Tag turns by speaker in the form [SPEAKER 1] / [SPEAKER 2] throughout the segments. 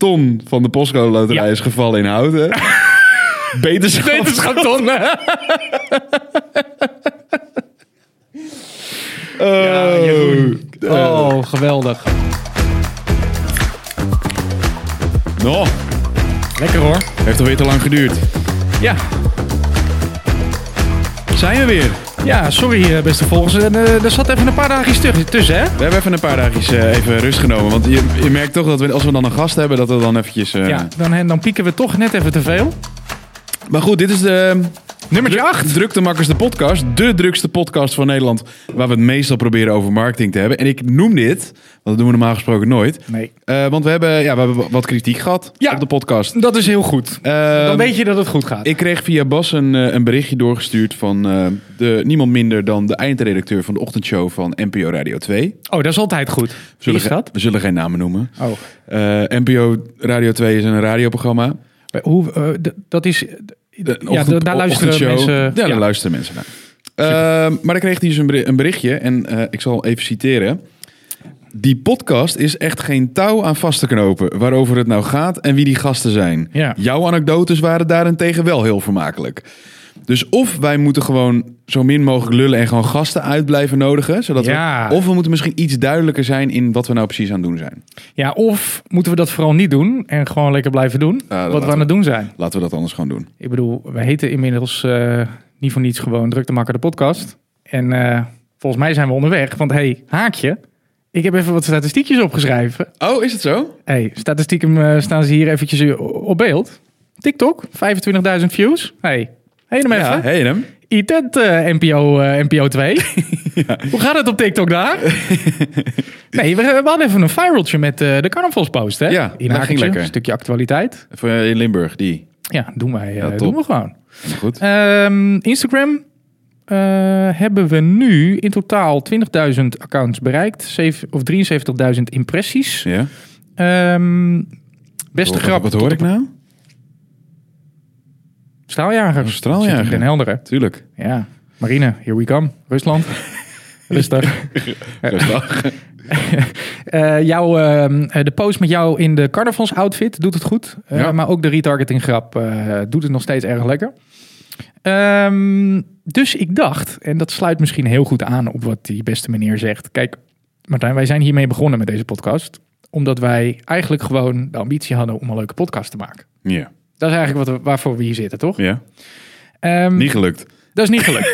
[SPEAKER 1] ton van de postcode loterij
[SPEAKER 2] Ja.
[SPEAKER 1] is gevallen in houten. Beter
[SPEAKER 2] Wetenschap tonnen.
[SPEAKER 1] Oh.
[SPEAKER 2] Ja, Jeroen.
[SPEAKER 1] Eh,
[SPEAKER 2] Oh, geweldig. Oh.
[SPEAKER 1] Nog.
[SPEAKER 2] Lekker hoor.
[SPEAKER 1] oh, Heeft alweer te lang geduurd.
[SPEAKER 2] Ja,
[SPEAKER 1] Zijn we weer.
[SPEAKER 2] ja sorry eh, beste volgers. En, eh, er zat even een paar dagjes tu- tussen, hè?
[SPEAKER 1] We hebben even een paar dagjes eh, even rust genomen. Want je, je merkt toch dat we, als we dan een gast hebben, dat we dan eventjes... eh,
[SPEAKER 2] Ja, dan, dan pieken we toch net even te veel.
[SPEAKER 1] Maar goed, dit is de...
[SPEAKER 2] Nummertje 8.
[SPEAKER 1] Druktemakkers de podcast. De drukste podcast van Nederland. Waar we het meestal proberen over marketing te hebben. En ik noem dit, want dat doen we normaal gesproken nooit.
[SPEAKER 2] Nee.
[SPEAKER 1] eh, want we hebben, ja, we hebben wat kritiek gehad
[SPEAKER 2] Ja.
[SPEAKER 1] op de podcast.
[SPEAKER 2] Dat is heel goed.
[SPEAKER 1] Ehm,
[SPEAKER 2] Dan weet je dat het goed gaat.
[SPEAKER 1] Ik kreeg via Bas een, eh, een berichtje doorgestuurd van eh, de, niemand minder dan de eindredacteur van de ochtendshow van NPO Radio 2.
[SPEAKER 2] Oh, dat is altijd goed. Wie is
[SPEAKER 1] ge-
[SPEAKER 2] dat?
[SPEAKER 1] We zullen geen namen noemen.
[SPEAKER 2] Oh.
[SPEAKER 1] Eh, NPO Radio 2 is een radioprogramma.
[SPEAKER 2] Hoe, eh, d- dat is...
[SPEAKER 1] De
[SPEAKER 2] ja,
[SPEAKER 1] ochtend-
[SPEAKER 2] daar luisteren
[SPEAKER 1] ochtendshow.
[SPEAKER 2] mensen...
[SPEAKER 1] Ja, daar luisteren mensen naar. Ehm, maar dan kreeg hij dus een beri- een berichtje en eh, ik zal even citeren. Die podcast is echt geen touw aan vast te knopen waarover het nou gaat en wie die gasten zijn.
[SPEAKER 2] Ja.
[SPEAKER 1] Jouw anekdotes waren daarentegen wel heel vermakelijk. Dus of wij moeten gewoon zo min mogelijk lullen en gewoon gasten uit blijven nodigen. Zodat
[SPEAKER 2] Ja.
[SPEAKER 1] we, of we moeten misschien iets duidelijker zijn in wat we nou precies aan het doen zijn.
[SPEAKER 2] Ja, of moeten we dat vooral niet doen en gewoon lekker blijven doen
[SPEAKER 1] Nou, dat
[SPEAKER 2] wat
[SPEAKER 1] laten
[SPEAKER 2] we aan het doen zijn.
[SPEAKER 1] Laten we dat anders gewoon doen.
[SPEAKER 2] Ik bedoel, we heten inmiddels eh, niet voor niets gewoon Druk te Makker de podcast. En eh, volgens mij zijn we onderweg, want hey, haakje, ik heb even wat statistiekjes opgeschreven.
[SPEAKER 1] Oh, is het zo?
[SPEAKER 2] hey, statistieken eh, staan ze hier eventjes eh, op beeld. TikTok, 25.000 views. hey, hey hem even.
[SPEAKER 1] hey hem.
[SPEAKER 2] Itent eh, NPO, eh, NPO 2. Hoe gaat het op TikTok daar? nee, we, we hadden even een viraltje met eh, de carnavalspost, hè?
[SPEAKER 1] Ja,
[SPEAKER 2] In
[SPEAKER 1] dat ging
[SPEAKER 2] Hakertje,
[SPEAKER 1] lekker.
[SPEAKER 2] Een stukje actualiteit.
[SPEAKER 1] Voor, eh, In Limburg, die.
[SPEAKER 2] Ja, doen wij, eh,
[SPEAKER 1] top.
[SPEAKER 2] doen we gewoon.
[SPEAKER 1] Goed.
[SPEAKER 2] Ehm, Instagram eh, hebben we nu in totaal 20.000 accounts bereikt. zeven- of 73.000 impressies.
[SPEAKER 1] Ja.
[SPEAKER 2] Ehm, beste grap.
[SPEAKER 1] Wat hoor ik nou?
[SPEAKER 2] Straaljager.
[SPEAKER 1] Een straaljager.
[SPEAKER 2] Zit in Den Helder, hè?
[SPEAKER 1] Tuurlijk.
[SPEAKER 2] Ja. Marine, here we come. Rusland. Rustig.
[SPEAKER 1] Rustig.
[SPEAKER 2] Eh jouw, ehm, eh, de post met jou in de carnavalsoutfit doet het goed. Eh,
[SPEAKER 1] Ja.
[SPEAKER 2] Maar ook de retargeting grap eh, doet het nog steeds erg lekker. Ehm, dus ik dacht, en dat sluit misschien heel goed aan op wat die beste meneer zegt. Kijk, Martijn, wij zijn hiermee begonnen met deze podcast. Omdat wij eigenlijk gewoon de ambitie hadden om een leuke podcast te maken.
[SPEAKER 1] Ja.
[SPEAKER 2] Dat is eigenlijk wat, we- waarvoor we hier zitten, toch?
[SPEAKER 1] ja.
[SPEAKER 2] Ehm,
[SPEAKER 1] Niet gelukt.
[SPEAKER 2] dat is niet gelukt.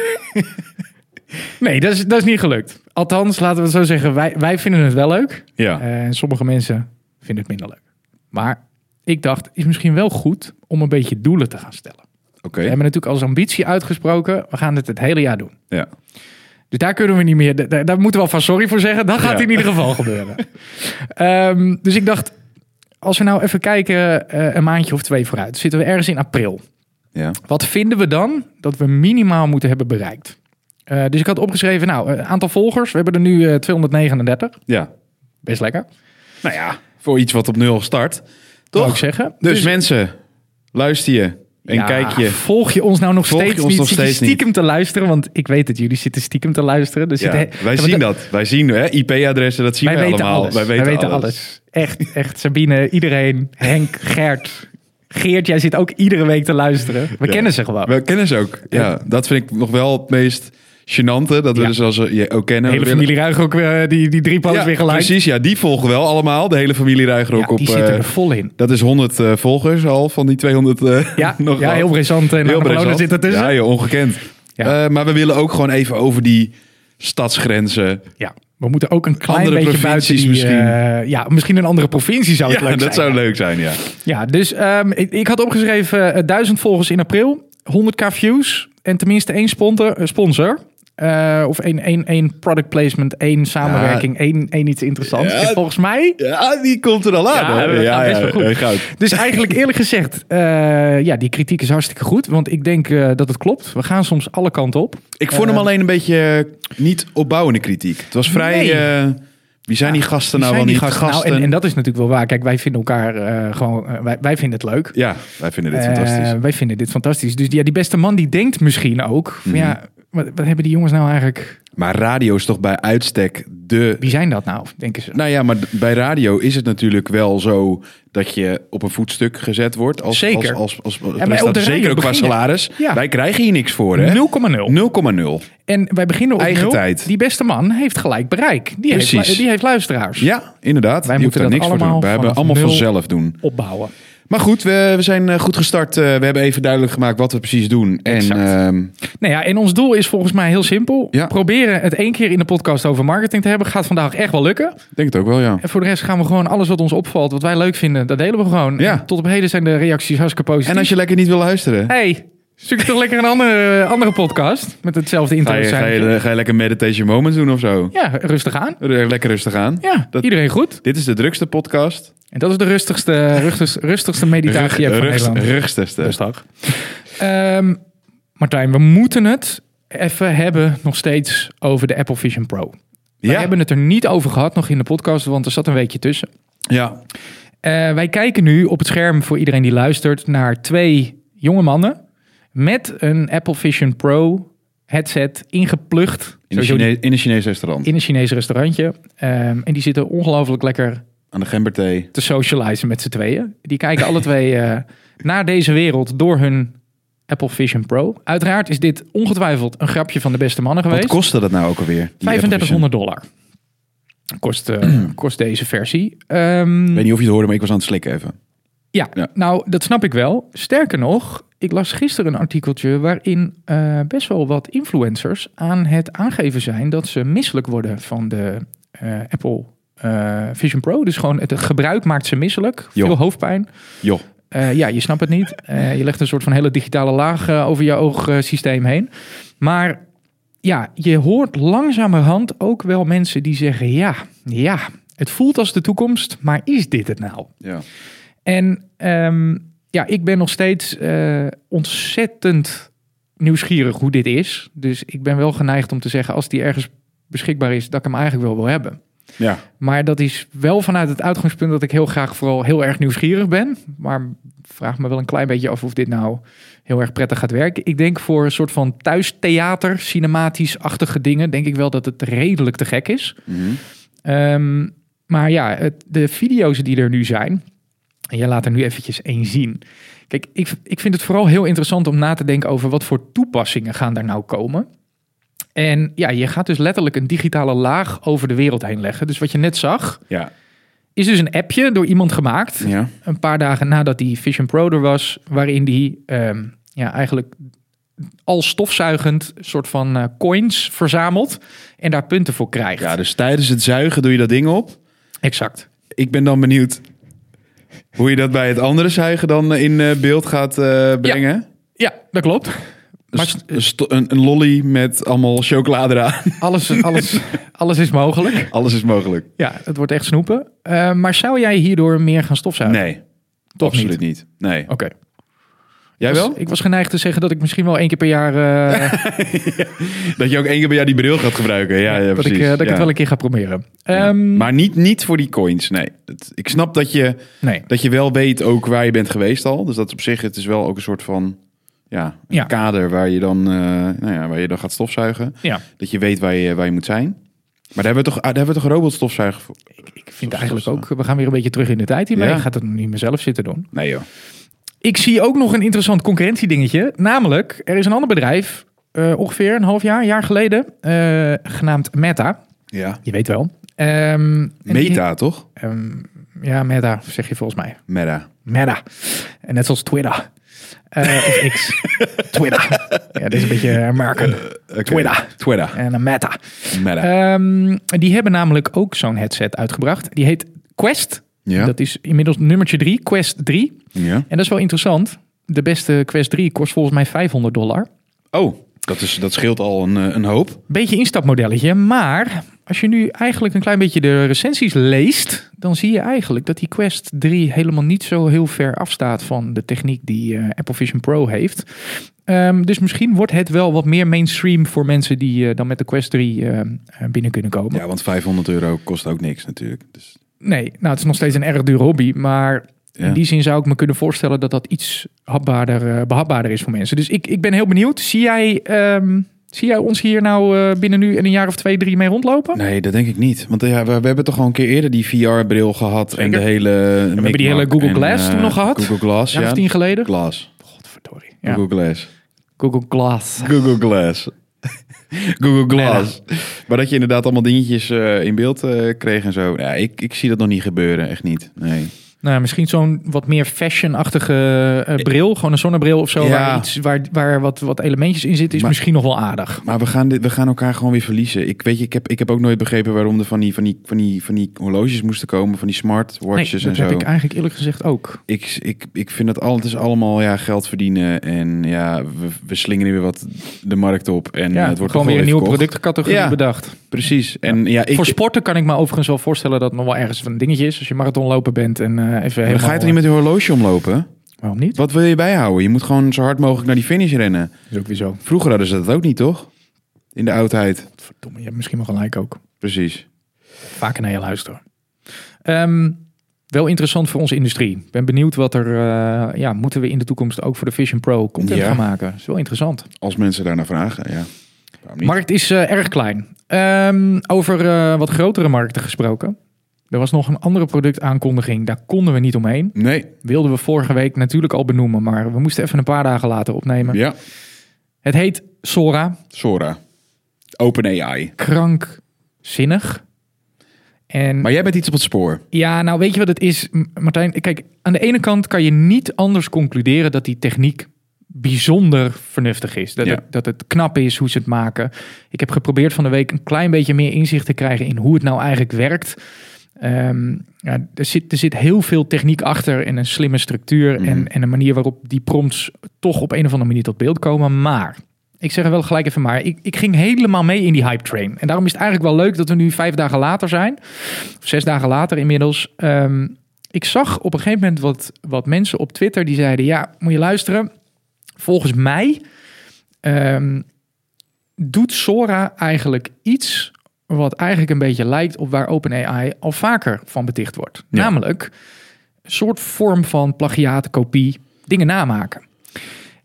[SPEAKER 2] nee, dat is, dat is niet gelukt. Althans, laten we het zo zeggen, wij, wij vinden het wel leuk.
[SPEAKER 1] Ja.
[SPEAKER 2] Eh, En sommige mensen vinden het minder leuk. Maar ik dacht, is misschien wel goed om een beetje doelen te gaan stellen.
[SPEAKER 1] Oké.
[SPEAKER 2] We hebben natuurlijk als ambitie uitgesproken, we gaan dit het hele jaar doen.
[SPEAKER 1] Ja.
[SPEAKER 2] Dus daar kunnen we niet meer, da- daar, moeten we alvast sorry voor zeggen. Dat gaat
[SPEAKER 1] Ja.
[SPEAKER 2] in ieder geval gebeuren. Ehm, dus ik dacht, als we nou even kijken eh, een maandje of twee vooruit. Zitten we ergens in april.
[SPEAKER 1] Ja.
[SPEAKER 2] Wat vinden we dan dat we minimaal moeten hebben bereikt? Eh, dus ik had opgeschreven, nou, eh, aantal volgers. We hebben er nu eh, 239.
[SPEAKER 1] Ja.
[SPEAKER 2] Best lekker,
[SPEAKER 1] Nou ja, voor iets wat op nul start.
[SPEAKER 2] zou
[SPEAKER 1] Toch?
[SPEAKER 2] ik zeggen.
[SPEAKER 1] Dus mensen, luister je en
[SPEAKER 2] Ja,
[SPEAKER 1] kijk je.
[SPEAKER 2] Volg je ons nou nog
[SPEAKER 1] Volg je
[SPEAKER 2] steeds
[SPEAKER 1] ons
[SPEAKER 2] niet?
[SPEAKER 1] nog
[SPEAKER 2] Zit je
[SPEAKER 1] steeds niet?
[SPEAKER 2] stiekem te luisteren? Want ik weet dat jullie zitten stiekem te luisteren. Dus
[SPEAKER 1] Ja, wij zien dat. Wij zien hè, IP-adressen, dat zien
[SPEAKER 2] Wij
[SPEAKER 1] wij
[SPEAKER 2] weten,
[SPEAKER 1] allemaal.
[SPEAKER 2] alles. Wij weten, alles. Echt, echt. Sabine, iedereen. Henk, Gert. Geert, jij zit ook iedere week te luisteren. We
[SPEAKER 1] Ja.
[SPEAKER 2] kennen ze gewoon.
[SPEAKER 1] We kennen ze ook. Ja,
[SPEAKER 2] Ja.
[SPEAKER 1] dat vind ik nog wel het meest gênante. Dat we
[SPEAKER 2] Ja.
[SPEAKER 1] dus als we je ook
[SPEAKER 2] de
[SPEAKER 1] kennen.
[SPEAKER 2] hele
[SPEAKER 1] we willen-
[SPEAKER 2] familie Ruig ook eh, die, die drie posts
[SPEAKER 1] Ja,
[SPEAKER 2] weer gelijk.
[SPEAKER 1] Precies, ja, die volgen wel allemaal. De hele familie Ruiger ook
[SPEAKER 2] Ja,
[SPEAKER 1] op.
[SPEAKER 2] die zitten
[SPEAKER 1] eh,
[SPEAKER 2] er vol in.
[SPEAKER 1] dat is 100 eh, volgers al van die 200. eh,
[SPEAKER 2] Ja,
[SPEAKER 1] nog
[SPEAKER 2] ja
[SPEAKER 1] wel.
[SPEAKER 2] heel brisant. En
[SPEAKER 1] Heel
[SPEAKER 2] Barcelona
[SPEAKER 1] Brezant.
[SPEAKER 2] zit ertussen.
[SPEAKER 1] Ja, joh, ongekend.
[SPEAKER 2] Ja.
[SPEAKER 1] Eh, maar we willen ook gewoon even over die stadsgrenzen.
[SPEAKER 2] Ja, we moeten ook een klein
[SPEAKER 1] Andere
[SPEAKER 2] beetje buiten die...
[SPEAKER 1] provincies
[SPEAKER 2] eh, ja, misschien een andere provincie zou het
[SPEAKER 1] Ja,
[SPEAKER 2] leuk zijn.
[SPEAKER 1] dat zou leuk zijn, ja.
[SPEAKER 2] Ja, dus ehm, ik, ik had opgeschreven eh, 1000 volgers in april, 100k views en tenminste één sponsor. eh, sponsor. Eh, of één, één, één product placement, één samenwerking, één, één iets interessants.
[SPEAKER 1] Ja.
[SPEAKER 2] En volgens mij...
[SPEAKER 1] Ja, die komt er al
[SPEAKER 2] aan, Ja, hoor. dat gaat best wel goed.
[SPEAKER 1] eh, goud.
[SPEAKER 2] Dus eigenlijk eerlijk gezegd, eh, ja, die kritiek is hartstikke goed. Want ik denk eh, dat het klopt. We gaan soms alle kanten op.
[SPEAKER 1] Ik vond hem alleen een beetje eh, niet opbouwende kritiek. Het was vrij...
[SPEAKER 2] Nee.
[SPEAKER 1] eh, wie zijn die gasten nou
[SPEAKER 2] Zijn
[SPEAKER 1] wel
[SPEAKER 2] die
[SPEAKER 1] niet?
[SPEAKER 2] gasten-
[SPEAKER 1] Gasten.
[SPEAKER 2] Nou, en, en dat is natuurlijk wel waar. Kijk, wij vinden elkaar eh, gewoon... eh, wij, wij vinden het leuk.
[SPEAKER 1] Ja, wij vinden dit
[SPEAKER 2] Eh,
[SPEAKER 1] fantastisch. Mhm.
[SPEAKER 2] wij vinden dit fantastisch. Dus ja, die beste man die denkt misschien ook... van, Ja, Wat, wat hebben die jongens nou eigenlijk...
[SPEAKER 1] Maar radio is toch bij uitstek de
[SPEAKER 2] Wie zijn dat nou, denken ze?
[SPEAKER 1] Nou ja, maar d- bij radio is het natuurlijk wel zo dat je op een voetstuk gezet wordt. Als,
[SPEAKER 2] Zeker.
[SPEAKER 1] Als, als, als, als
[SPEAKER 2] de
[SPEAKER 1] presentator,
[SPEAKER 2] radio
[SPEAKER 1] zeker ook qua
[SPEAKER 2] beginnen.
[SPEAKER 1] salaris.
[SPEAKER 2] Ja.
[SPEAKER 1] Wij krijgen hier niks voor, hè?
[SPEAKER 2] 0,0.
[SPEAKER 1] 0,0.
[SPEAKER 2] En wij beginnen op
[SPEAKER 1] Eigen
[SPEAKER 2] nul.
[SPEAKER 1] tijd.
[SPEAKER 2] Die beste man heeft gelijk bereik. Die, heeft,
[SPEAKER 1] Precies.
[SPEAKER 2] lu- die heeft luisteraars.
[SPEAKER 1] Ja, inderdaad.
[SPEAKER 2] Wij
[SPEAKER 1] Die hoeft
[SPEAKER 2] moeten
[SPEAKER 1] daar
[SPEAKER 2] dat
[SPEAKER 1] niks voor te doen.
[SPEAKER 2] allemaal
[SPEAKER 1] Wij hebben
[SPEAKER 2] vanaf
[SPEAKER 1] allemaal
[SPEAKER 2] nul-
[SPEAKER 1] vanzelf doen.
[SPEAKER 2] Opbouwen.
[SPEAKER 1] Maar goed, we, we zijn eh, goed gestart. Eh, We hebben even duidelijk gemaakt wat we precies doen. En
[SPEAKER 2] Exact.
[SPEAKER 1] ehm,
[SPEAKER 2] Nou ja, en ons doel is volgens mij heel simpel.
[SPEAKER 1] Ja.
[SPEAKER 2] Proberen het één keer in de podcast over marketing te hebben. Gaat vandaag echt wel lukken.
[SPEAKER 1] ik denk het ook wel, ja.
[SPEAKER 2] En voor de rest gaan we gewoon alles wat ons opvalt, wat wij leuk vinden, dat delen we gewoon.
[SPEAKER 1] Ja.
[SPEAKER 2] En tot op heden zijn de reacties hartstikke positief.
[SPEAKER 1] En als je lekker niet wil luisteren,
[SPEAKER 2] Hey, zoek je toch lekker een andere, andere podcast met hetzelfde
[SPEAKER 1] ga je,
[SPEAKER 2] intro.
[SPEAKER 1] ga, je, ga je lekker meditation moments doen of zo.
[SPEAKER 2] Ja, rustig aan.
[SPEAKER 1] R- Lekker rustig aan.
[SPEAKER 2] Ja,
[SPEAKER 1] Dat-
[SPEAKER 2] iedereen goed.
[SPEAKER 1] Dit is de drukste podcast.
[SPEAKER 2] En dat is de rustigste, rustigste, rustigste meditatie app van
[SPEAKER 1] Rugst-
[SPEAKER 2] Nederland.
[SPEAKER 1] Rugstigste.
[SPEAKER 2] Rustig. Ehm, Martijn, we moeten het even hebben nog steeds over de Apple Vision Pro. We hebben het er niet over gehad nog in de podcast, want er zat een weekje tussen.
[SPEAKER 1] ja,
[SPEAKER 2] Eh, wij kijken nu op het scherm voor iedereen die luistert naar twee jonge mannen met een Apple Vision Pro headset ingeplucht
[SPEAKER 1] In een,
[SPEAKER 2] Sowieso
[SPEAKER 1] Chine- in een Chinees restaurant.
[SPEAKER 2] in een Chinese restaurantje. Ehm, en die zitten ongelooflijk lekker
[SPEAKER 1] Aan de gemberthee.
[SPEAKER 2] te socializen met z'n tweeën. Die kijken alle twee eh, naar deze wereld door hun Apple Vision Pro. Uiteraard is dit ongetwijfeld een grapje van de beste mannen
[SPEAKER 1] Wat
[SPEAKER 2] geweest.
[SPEAKER 1] kostte dat nou ook alweer? die Apple Vision?
[SPEAKER 2] 3500 dollar kost, eh, kost deze versie. Ehm,
[SPEAKER 1] Ik weet niet of je het hoorde, maar ik was aan het slikken even.
[SPEAKER 2] Ja,
[SPEAKER 1] Ja.
[SPEAKER 2] nou, dat snap ik wel. Sterker nog, ik las gisteren een artikeltje waarin eh, best wel wat influencers aan het aangeven zijn dat ze misselijk worden van de eh, Apple eh, Vision Pro. Dus gewoon het gebruik maakt ze misselijk.
[SPEAKER 1] Jo.
[SPEAKER 2] Veel hoofdpijn.
[SPEAKER 1] Joh,
[SPEAKER 2] Eh, ja, je snapt het niet. Eh, je legt een soort van hele digitale laag eh, over je oogsysteem heen. Maar ja, je hoort langzamerhand ook wel mensen die zeggen: ja, ja, het voelt als de toekomst, maar is dit het nou?
[SPEAKER 1] ja.
[SPEAKER 2] En ehm, ja, ik ben nog steeds eh, ontzettend nieuwsgierig hoe dit is. Dus ik ben wel geneigd om te zeggen, als die ergens beschikbaar is, dat ik hem eigenlijk wel wil hebben.
[SPEAKER 1] ja.
[SPEAKER 2] Maar dat is wel vanuit het uitgangspunt dat ik heel graag vooral heel erg nieuwsgierig ben. Maar vraag me wel een klein beetje af of dit nou heel erg prettig gaat werken. Ik denk voor een soort van thuistheater, cinematisch-achtige dingen, denk ik wel dat het redelijk te gek is.
[SPEAKER 1] Mhm.
[SPEAKER 2] Ehm, maar ja, het, de video's die er nu zijn. En jij laat er nu eventjes één zien. Kijk, ik, ik vind het vooral heel interessant om na te denken over wat voor toepassingen gaan daar nou komen. En ja, je gaat dus letterlijk een digitale laag over de wereld heen leggen. Dus wat je net zag,
[SPEAKER 1] ja.
[SPEAKER 2] is dus een appje door iemand gemaakt
[SPEAKER 1] Ja.
[SPEAKER 2] een paar dagen nadat die Vision Pro er was, waarin die ehm, ja, eigenlijk al stofzuigend soort van eh, coins verzamelt en daar punten voor krijgt.
[SPEAKER 1] Ja, dus tijdens het zuigen doe je dat ding op.
[SPEAKER 2] exact.
[SPEAKER 1] Ik ben dan benieuwd hoe je dat bij het andere zuigen dan in eh, beeld gaat eh, brengen.
[SPEAKER 2] Ja, dat
[SPEAKER 1] Dus
[SPEAKER 2] klopt. Maar
[SPEAKER 1] St- een sto- een, een lolly met allemaal chocolade eraan.
[SPEAKER 2] alles, alles, alles is mogelijk.
[SPEAKER 1] Alles is mogelijk.
[SPEAKER 2] Ja, het wordt echt snoepen. Eh, maar zou jij hierdoor meer gaan stofzuigen?
[SPEAKER 1] Nee,
[SPEAKER 2] toch
[SPEAKER 1] absoluut
[SPEAKER 2] niet.
[SPEAKER 1] niet. Nee.
[SPEAKER 2] Oké.
[SPEAKER 1] Jij
[SPEAKER 2] Ik was-
[SPEAKER 1] wel?
[SPEAKER 2] Ik was geneigd te zeggen dat ik misschien wel één keer per jaar. eh,
[SPEAKER 1] Dat je ook één keer bij jou die bril gaat gebruiken. Ja, ja,
[SPEAKER 2] dat ik,
[SPEAKER 1] precies.
[SPEAKER 2] eh, dat ik
[SPEAKER 1] Ja.
[SPEAKER 2] het wel een keer ga proberen.
[SPEAKER 1] Ja.
[SPEAKER 2] Ehm,
[SPEAKER 1] Maar niet, niet voor die coins, nee. Het- ik snap dat je...
[SPEAKER 2] nee.
[SPEAKER 1] Dat je wel weet ook waar je bent geweest al. Dus dat op zich, het is wel ook een soort van ja, een
[SPEAKER 2] Ja.
[SPEAKER 1] kader waar je, dan, eh, nou ja, waar je dan gaat stofzuigen.
[SPEAKER 2] Ja.
[SPEAKER 1] Dat je weet waar je, waar je moet zijn. Maar daar hebben we toch, ah, daar hebben we toch een robotstofzuiger voor?
[SPEAKER 2] Ik vind eigenlijk ook, we gaan weer een beetje terug in de tijd hiermee.
[SPEAKER 1] Ja.
[SPEAKER 2] Ik ga het nog niet mezelf zitten doen.
[SPEAKER 1] Nee joh.
[SPEAKER 2] Ik zie ook nog een interessant concurrentiedingetje. Namelijk, er is een ander bedrijf, eh, ongeveer een half jaar, een jaar geleden, eh, genaamd Meta.
[SPEAKER 1] Ja.
[SPEAKER 2] Je weet wel. Ehm, en die-
[SPEAKER 1] Meta, toch?
[SPEAKER 2] Ehm, ja, Meta, zeg je volgens mij.
[SPEAKER 1] Meta.
[SPEAKER 2] Meta. En net zoals Twitter. Eh, of X. Twitter. Ja, dit is een beetje American.
[SPEAKER 1] Oké.
[SPEAKER 2] Twitter.
[SPEAKER 1] Twitter.
[SPEAKER 2] En een Meta.
[SPEAKER 1] Meta.
[SPEAKER 2] Ehm, die hebben namelijk ook zo'n headset uitgebracht. Die heet Quest.
[SPEAKER 1] ja.
[SPEAKER 2] Dat is inmiddels nummertje 3, Quest 3.
[SPEAKER 1] ja.
[SPEAKER 2] En dat is wel interessant. De beste Quest 3 kost volgens mij 500 dollar.
[SPEAKER 1] Oh, dat, is, dat scheelt al een, eh, een hoop.
[SPEAKER 2] Beetje instapmodelletje, maar als je nu eigenlijk een klein beetje de recensies leest, dan zie je eigenlijk dat die Quest 3 helemaal niet zo heel ver afstaat van de techniek die eh, Apple Vision Pro heeft. Ehm, dus misschien wordt het wel wat meer mainstream voor mensen die eh, dan met de Quest 3 ehm, eh, binnen kunnen komen.
[SPEAKER 1] Ja, want 500 euro kost ook niks natuurlijk. Dus,
[SPEAKER 2] Nee, nou het is nog steeds een erg dure hobby, maar
[SPEAKER 1] ja.
[SPEAKER 2] In die zin zou ik me kunnen voorstellen dat dat iets hapbaarder, eh, behapbaarder is voor mensen. Dus ik, ik ben heel benieuwd. Zie jij ehm, Zie jij ons hier nou eh, binnen nu en een jaar of twee, drie mee rondlopen?
[SPEAKER 1] Nee, dat denk ik niet. Want eh, ja, we, we hebben toch al een keer eerder die VR-bril gehad. En de
[SPEAKER 2] Zeker.
[SPEAKER 1] hele. We
[SPEAKER 2] hebben die hele Google Glass toen nog gehad.
[SPEAKER 1] eh, Google Glass,
[SPEAKER 2] Een jaar
[SPEAKER 1] ja.
[SPEAKER 2] of tien geleden?
[SPEAKER 1] Glass.
[SPEAKER 2] Godverdorie. Ja.
[SPEAKER 1] Google Glass.
[SPEAKER 2] Google Glass.
[SPEAKER 1] Google Glass. Google
[SPEAKER 2] Nee,
[SPEAKER 1] Glass. Maar dat je inderdaad allemaal dingetjes eh, in beeld eh, kreeg en zo. Ja, ik, ik zie dat nog niet gebeuren. Echt niet. Nee.
[SPEAKER 2] Nou, misschien zo'n wat meer fashion-achtige eh, bril. Gewoon een zonnebril of zo.
[SPEAKER 1] Ja.
[SPEAKER 2] Waar, iets, waar, waar wat, wat elementjes in zitten, is
[SPEAKER 1] Maar-
[SPEAKER 2] misschien nog wel aardig.
[SPEAKER 1] Maar we gaan, dit, we gaan elkaar gewoon weer verliezen. Ik, weet je, ik, heb, ik heb ook nooit begrepen waarom er van die, van, die, van, die, van die horloges moesten komen. Van die
[SPEAKER 2] Nee,
[SPEAKER 1] smartwatches en
[SPEAKER 2] dat
[SPEAKER 1] zo.
[SPEAKER 2] heb ik eigenlijk eerlijk gezegd ook.
[SPEAKER 1] ik, ik, ik vind het al, het is allemaal ja, geld verdienen en ja, we, we slingeren weer wat de markt op en
[SPEAKER 2] Ja,
[SPEAKER 1] eh, het wordt toch
[SPEAKER 2] gewoon weer een
[SPEAKER 1] wel
[SPEAKER 2] nieuwe
[SPEAKER 1] verkocht.
[SPEAKER 2] productcategorie
[SPEAKER 1] Ja.
[SPEAKER 2] bedacht.
[SPEAKER 1] Precies. En ja, ik,
[SPEAKER 2] Voor sporten kan ik me overigens wel voorstellen dat het nog wel ergens een dingetje is. Als je marathonloper bent en eh, even
[SPEAKER 1] dan
[SPEAKER 2] helemaal...
[SPEAKER 1] ga je toch niet met een horloge omlopen?
[SPEAKER 2] Waarom niet?
[SPEAKER 1] Wat wil je bijhouden? Je moet gewoon zo hard mogelijk naar die finish rennen.
[SPEAKER 2] is ook weer zo.
[SPEAKER 1] Vroeger hadden ze dat ook niet, toch? In de oudheid.
[SPEAKER 2] Verdomme, je hebt misschien wel gelijk ook.
[SPEAKER 1] Precies.
[SPEAKER 2] Vaker naar je luisteren. Ehm, wel interessant voor onze industrie. Ik ben benieuwd wat er... eh, ja, moeten we in de toekomst ook voor de Vision Pro content
[SPEAKER 1] Ja.
[SPEAKER 2] gaan maken? Dat is wel interessant.
[SPEAKER 1] Als mensen daarnaar vragen, ja. Waarom niet?
[SPEAKER 2] markt is eh, erg klein. Ehm, over eh, wat grotere markten gesproken. Er was nog een andere productaankondiging. Daar konden we niet omheen.
[SPEAKER 1] Nee,
[SPEAKER 2] Wilden we vorige week natuurlijk al benoemen. Maar we moesten even een paar dagen later opnemen.
[SPEAKER 1] ja.
[SPEAKER 2] Het heet Sora.
[SPEAKER 1] Sora. Open AI.
[SPEAKER 2] Krankzinnig. En
[SPEAKER 1] Maar jij bent iets op het spoor.
[SPEAKER 2] ja, nou weet je wat het is, M- Martijn? Kijk, aan de ene kant kan je niet anders concluderen dat die techniek bijzonder vernuftig is. Dat,
[SPEAKER 1] Ja.
[SPEAKER 2] het, dat het knap is hoe ze het maken. Ik heb geprobeerd van de week een klein beetje meer inzicht te krijgen in hoe het nou eigenlijk werkt. Ehm, ja, er, zit, er zit heel veel techniek achter en een slimme structuur
[SPEAKER 1] Mhm.
[SPEAKER 2] en, en een manier waarop die prompts toch op een of andere manier tot beeld komen. Maar, ik zeg er wel gelijk even maar, ik, ik ging helemaal mee in die hype train. En daarom is het eigenlijk wel leuk dat we nu vijf dagen later zijn, of zes dagen later inmiddels. Ehm, ik zag op een gegeven moment wat, wat mensen op Twitter die zeiden, ja, moet je luisteren. Volgens mij ehm, doet Sora eigenlijk iets wat eigenlijk een beetje lijkt op waar OpenAI al vaker van beticht wordt.
[SPEAKER 1] Ja.
[SPEAKER 2] Namelijk een soort vorm van plagiaat, kopie, dingen namaken.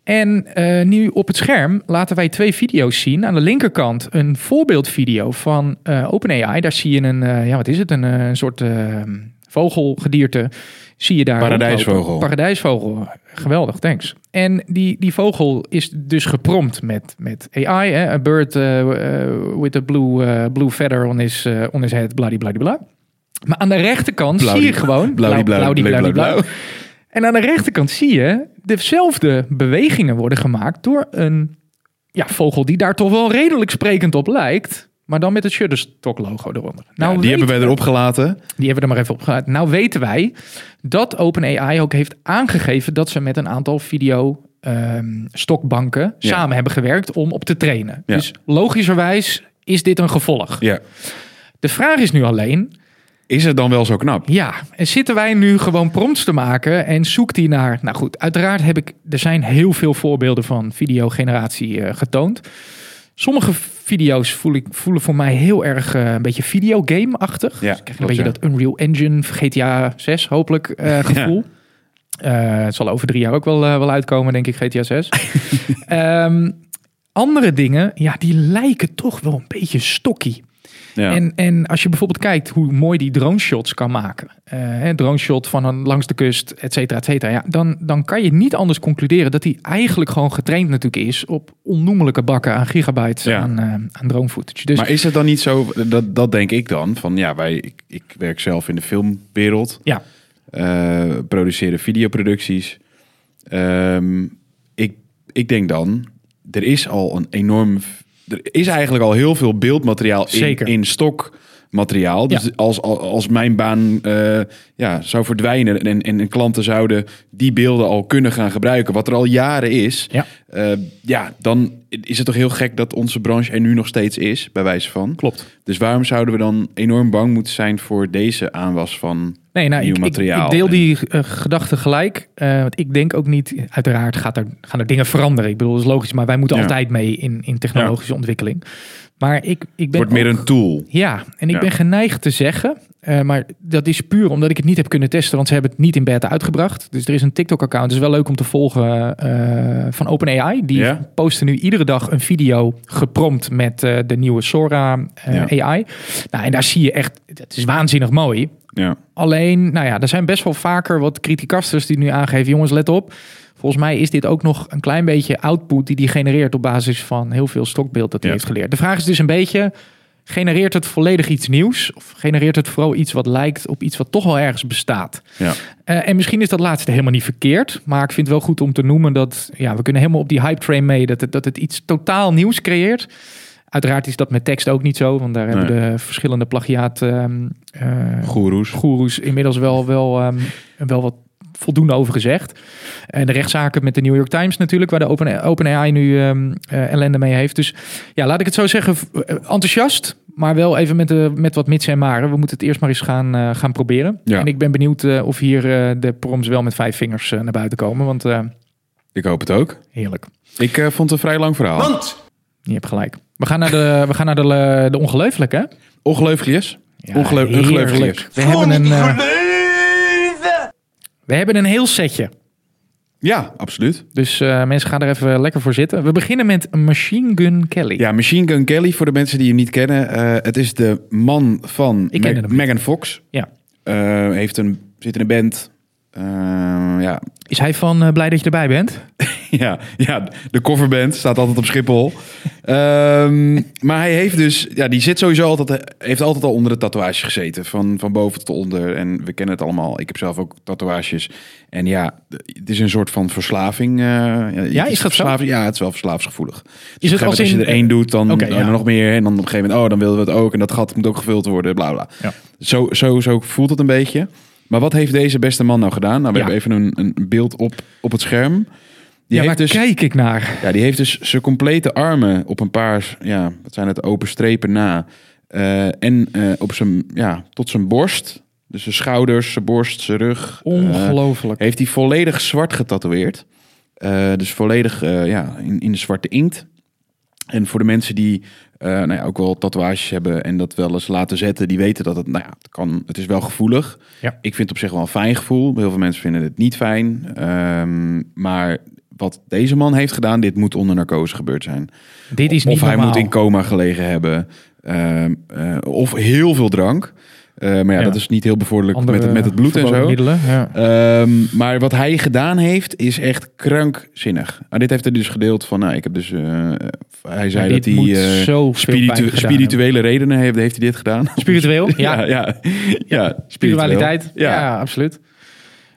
[SPEAKER 2] En eh, nu op het scherm laten wij twee video's zien. Aan de linkerkant een voorbeeldvideo van eh, OpenAI. Daar zie je een, eh, ja wat is het, een eh, soort eh, vogelgedierte. Zie je daar
[SPEAKER 1] Paradijsvogel.
[SPEAKER 2] rondlopen. Paradijsvogel, geweldig, thanks. En die, die vogel is dus geprompt met, met AI. Hè? A bird eh, eh, with a blue, eh, blue feather on his, eh, on his head, bladibladibla. Maar aan de rechterkant
[SPEAKER 1] Blauw
[SPEAKER 2] zie je
[SPEAKER 1] die-
[SPEAKER 2] gewoon...
[SPEAKER 1] Blauw, blauw,
[SPEAKER 2] blauw,
[SPEAKER 1] blauw, blauw.
[SPEAKER 2] En aan de rechterkant zie je... dezelfde bewegingen worden gemaakt door een ja, vogel... die daar toch wel redelijk sprekend op lijkt... maar dan met het Shutterstock logo eronder. Nou,
[SPEAKER 1] Ja, die
[SPEAKER 2] weten-
[SPEAKER 1] hebben wij erop gelaten.
[SPEAKER 2] die hebben we er maar even opgehaald. Nou weten wij dat OpenAI ook heeft aangegeven dat ze met een aantal video ehm, stokbanken
[SPEAKER 1] Ja.
[SPEAKER 2] samen hebben gewerkt om op te trainen.
[SPEAKER 1] Ja.
[SPEAKER 2] Dus logischerwijs is dit een gevolg.
[SPEAKER 1] Ja.
[SPEAKER 2] De vraag is nu alleen,
[SPEAKER 1] Is het dan wel zo knap?
[SPEAKER 2] ja, en zitten wij nu gewoon prompts te maken en zoekt die naar... Nou goed, uiteraard heb ik... Er zijn heel veel voorbeelden van videogeneratie eh, getoond. Sommige video's voel ik, voelen voor mij heel erg eh, een beetje videogame-achtig.
[SPEAKER 1] Ja,
[SPEAKER 2] dus ik krijg
[SPEAKER 1] klopt,
[SPEAKER 2] een beetje
[SPEAKER 1] ja.
[SPEAKER 2] dat Unreal Engine, GTA 6 hopelijk, eh, gevoel. Eh, het zal over drie jaar ook wel, eh, wel uitkomen, denk ik, GTA 6. Ehm, andere dingen, ja, die lijken toch wel een beetje stokkie.
[SPEAKER 1] Ja.
[SPEAKER 2] En, en als je bijvoorbeeld kijkt hoe mooi die drone shots kan maken. eh, hè, drone shot van een, langs de kust, et cetera, et cetera. Ja, dan, dan kan je niet anders concluderen dat die eigenlijk gewoon getraind natuurlijk is op onnoemelijke bakken aan gigabytes
[SPEAKER 1] Ja.
[SPEAKER 2] aan, eh, aan drone footage. Dus
[SPEAKER 1] maar is het dan niet zo, dat, dat denk ik dan, van ja, wij, ik, ik werk zelf in de filmwereld,
[SPEAKER 2] ja,
[SPEAKER 1] eh produceren videoproducties. Ehm, ik, ik denk dan, er is al een enorm, er is eigenlijk al heel veel beeldmateriaal in,
[SPEAKER 2] Zeker.
[SPEAKER 1] in stok. Materiaal. Dus
[SPEAKER 2] Ja.
[SPEAKER 1] als, als, als mijn baan eh, ja, zou verdwijnen en, en, en klanten zouden die beelden al kunnen gaan gebruiken, wat er al jaren is,
[SPEAKER 2] Ja.
[SPEAKER 1] eh, ja, dan is het toch heel gek dat onze branche er nu nog steeds is, bij wijze van.
[SPEAKER 2] klopt.
[SPEAKER 1] Dus waarom zouden we dan enorm bang moeten zijn voor deze aanwas van
[SPEAKER 2] Nee, nou,
[SPEAKER 1] Nieuw
[SPEAKER 2] ik, ik,
[SPEAKER 1] materiaal.
[SPEAKER 2] ik deel die eh, gedachte gelijk. eh, want ik denk ook niet, uiteraard gaat er, gaan er dingen veranderen. Ik bedoel, dat is logisch, maar wij moeten
[SPEAKER 1] Ja.
[SPEAKER 2] altijd mee in, in technologische ontwikkeling. Maar ik, ik ben
[SPEAKER 1] wordt meer
[SPEAKER 2] ook-
[SPEAKER 1] een tool.
[SPEAKER 2] Ja, en ik
[SPEAKER 1] Ja.
[SPEAKER 2] ben geneigd te zeggen, eh, maar dat is puur omdat ik het niet heb kunnen testen, want ze hebben het niet in beta uitgebracht. Dus er is een TikTok-account, het is wel leuk om te volgen, eh, van OpenAI. Die
[SPEAKER 1] Ja.
[SPEAKER 2] posten nu iedere dag een video geprompt met eh, de nieuwe Sora eh, AI. Nou, en daar zie je echt, het is waanzinnig mooi.
[SPEAKER 1] Ja.
[SPEAKER 2] Alleen, nou ja, er zijn best wel vaker wat criticasters die nu aangeven, jongens, let op. Volgens mij is dit ook nog een klein beetje output die die genereert op basis van heel veel stokbeeld dat hij
[SPEAKER 1] Ja.
[SPEAKER 2] heeft geleerd. De vraag is dus een beetje, genereert het volledig iets nieuws? Of genereert het vooral iets wat lijkt op iets wat toch wel ergens bestaat?
[SPEAKER 1] Ja.
[SPEAKER 2] Eh, en misschien is dat laatste helemaal niet verkeerd. Maar ik vind het wel goed om te noemen dat ja, we kunnen helemaal op die hype train mee. Dat het, dat het iets totaal nieuws creëert. Uiteraard is dat met tekst ook niet zo. Want daar hebben de verschillende plagiaat ehm, eh,
[SPEAKER 1] Goeroes.
[SPEAKER 2] goeroes inmiddels wel, wel, ehm, wel wat voldoende over gezegd. En de rechtszaken met de New York Times natuurlijk, waar de Open, OpenAI nu ehm, eh, ellende mee heeft. Dus ja, laat ik het zo zeggen, v- eh, enthousiast, maar wel even met, de, met wat mits en maren. We moeten het eerst maar eens gaan, eh, gaan proberen.
[SPEAKER 1] Ja.
[SPEAKER 2] En ik ben benieuwd eh, of hier eh, de proms wel met vijf vingers eh, naar buiten komen, want eh,
[SPEAKER 1] Ik hoop het ook.
[SPEAKER 2] heerlijk.
[SPEAKER 1] Ik eh, vond het een vrij lang verhaal.
[SPEAKER 2] Je hebt gelijk. We gaan naar de, we gaan naar de, eh, de ongelooflijke, hè?
[SPEAKER 1] Ongelooflijk yes.
[SPEAKER 2] Ja,
[SPEAKER 1] Ongeloo-
[SPEAKER 2] heerlijk.
[SPEAKER 1] ongelooflijk.
[SPEAKER 2] We hebben, een, eh, we hebben een heel setje.
[SPEAKER 1] Ja, absoluut.
[SPEAKER 2] Dus eh, mensen gaan er even lekker voor zitten. We beginnen met Machine Gun Kelly.
[SPEAKER 1] Ja, Machine Gun Kelly, voor de mensen die hem niet kennen. eh, het is de man van
[SPEAKER 2] Ik ken
[SPEAKER 1] Meg-
[SPEAKER 2] hem.
[SPEAKER 1] Megan Fox.
[SPEAKER 2] Ja.
[SPEAKER 1] Eh, heeft een, zit in een band. Eh, ja.
[SPEAKER 2] Is hij van eh, blij dat je erbij bent?
[SPEAKER 1] ja, ja, de coverband staat altijd op Schiphol. Ehm, maar hij heeft dus, ja, die zit sowieso altijd, heeft altijd al onder de tatoeage gezeten. Van, van boven tot onder. En we kennen het allemaal. Ik heb zelf ook tatoeages. En ja, het is een soort van verslaving. eh, ja, het
[SPEAKER 2] is dat zo?
[SPEAKER 1] verslaving, Ja, het is wel Dus verslaafsgevoelig.
[SPEAKER 2] Is het als
[SPEAKER 1] als je
[SPEAKER 2] in...
[SPEAKER 1] er één doet, dan
[SPEAKER 2] Oké,
[SPEAKER 1] oh,
[SPEAKER 2] ja.
[SPEAKER 1] dan nog meer. En dan op een gegeven moment, oh, dan willen we het ook. En dat gat moet ook gevuld worden, bla bla.
[SPEAKER 2] Ja.
[SPEAKER 1] Zo, zo, zo voelt het een beetje. Maar wat heeft deze beste man nou gedaan? Nou, we
[SPEAKER 2] Ja.
[SPEAKER 1] hebben even een, een beeld op, op het scherm. Die,
[SPEAKER 2] ja, waar
[SPEAKER 1] heeft dus,
[SPEAKER 2] kijk ik naar?
[SPEAKER 1] ja, die heeft dus zijn complete armen op een paar, ja, wat zijn het, open strepen na. Eh, en eh, op zijn, ja, tot zijn borst. Dus zijn schouders, zijn borst, zijn rug. eh,
[SPEAKER 2] Ongelooflijk.
[SPEAKER 1] heeft hij volledig zwart getatoeëerd. Eh, dus volledig eh, ja, in, in de zwarte inkt. En voor de mensen die eh, nou ja, ook wel tatoeages hebben en dat wel eens laten zetten, die weten dat het, nou ja, het, kan, het is wel gevoelig.
[SPEAKER 2] Ja.
[SPEAKER 1] Ik vind het op zich wel een fijn gevoel. Heel veel mensen vinden het niet fijn. Ehm, maar wat deze man heeft gedaan, dit moet onder narcose gebeurd zijn.
[SPEAKER 2] Dit is niet
[SPEAKER 1] of hij
[SPEAKER 2] normaal.
[SPEAKER 1] moet in coma gelegen hebben. Ehm, eh, of heel veel drank. Eh, maar ja,
[SPEAKER 2] Ja.
[SPEAKER 1] dat is niet heel bevorderlijk
[SPEAKER 2] Andere
[SPEAKER 1] met, het- met het bloed en
[SPEAKER 2] verboden
[SPEAKER 1] zo.
[SPEAKER 2] middelen, ja.
[SPEAKER 1] Ehm, maar wat hij gedaan heeft, is echt krankzinnig. Nou, dit heeft hij dus gedeeld van, nou, ik heb dus... eh, hij zei
[SPEAKER 2] Maar
[SPEAKER 1] dat
[SPEAKER 2] dit
[SPEAKER 1] hij
[SPEAKER 2] moet
[SPEAKER 1] eh,
[SPEAKER 2] zo
[SPEAKER 1] spiritu-
[SPEAKER 2] spiritueel.
[SPEAKER 1] spirituele redenen heeft, heeft hij dit gedaan.
[SPEAKER 2] Spiritueel, ja.
[SPEAKER 1] ja, ja, ja,
[SPEAKER 2] Spiritualiteit, ja.
[SPEAKER 1] Ja.
[SPEAKER 2] absoluut.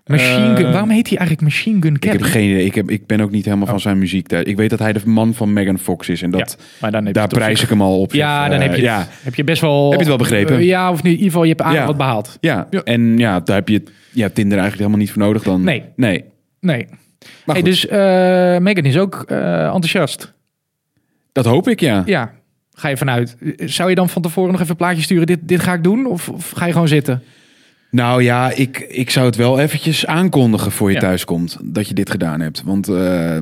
[SPEAKER 2] Machine Gun,
[SPEAKER 1] Eh,
[SPEAKER 2] waarom heet hij eigenlijk Machine Gun
[SPEAKER 1] Ik
[SPEAKER 2] Kelly?
[SPEAKER 1] heb geen idee. Ik, heb, ik ben ook niet helemaal van zijn muziek daar. Ik weet dat hij de man van Megan Fox is en dat,
[SPEAKER 2] Oh. Ja, maar dan heb je
[SPEAKER 1] daar
[SPEAKER 2] het op
[SPEAKER 1] prijs
[SPEAKER 2] zich.
[SPEAKER 1] ik hem al op.
[SPEAKER 2] Ja, dan
[SPEAKER 1] Eh,
[SPEAKER 2] heb je,
[SPEAKER 1] ja,
[SPEAKER 2] het, heb je best wel...
[SPEAKER 1] Heb je het wel begrepen?
[SPEAKER 2] Eh, ja, of nu, in ieder geval, je hebt aardig
[SPEAKER 1] Ja.
[SPEAKER 2] wat behaald.
[SPEAKER 1] ja.
[SPEAKER 2] Ja.
[SPEAKER 1] en ja, daar heb je ja, Tinder eigenlijk helemaal niet voor nodig dan.
[SPEAKER 2] Nee.
[SPEAKER 1] Nee.
[SPEAKER 2] Nee.
[SPEAKER 1] Maar
[SPEAKER 2] Hey,
[SPEAKER 1] goed,
[SPEAKER 2] dus eh, Megan is ook eh, enthousiast.
[SPEAKER 1] dat hoop ik, ja.
[SPEAKER 2] Ja, ga je vanuit. Zou je dan van tevoren nog even een plaatje sturen? Dit, dit ga ik doen? Of, of ga je gewoon zitten?
[SPEAKER 1] Nou ja, ik, ik zou het wel eventjes aankondigen voor je
[SPEAKER 2] Ja.
[SPEAKER 1] thuis komt dat je dit gedaan hebt. Want eh,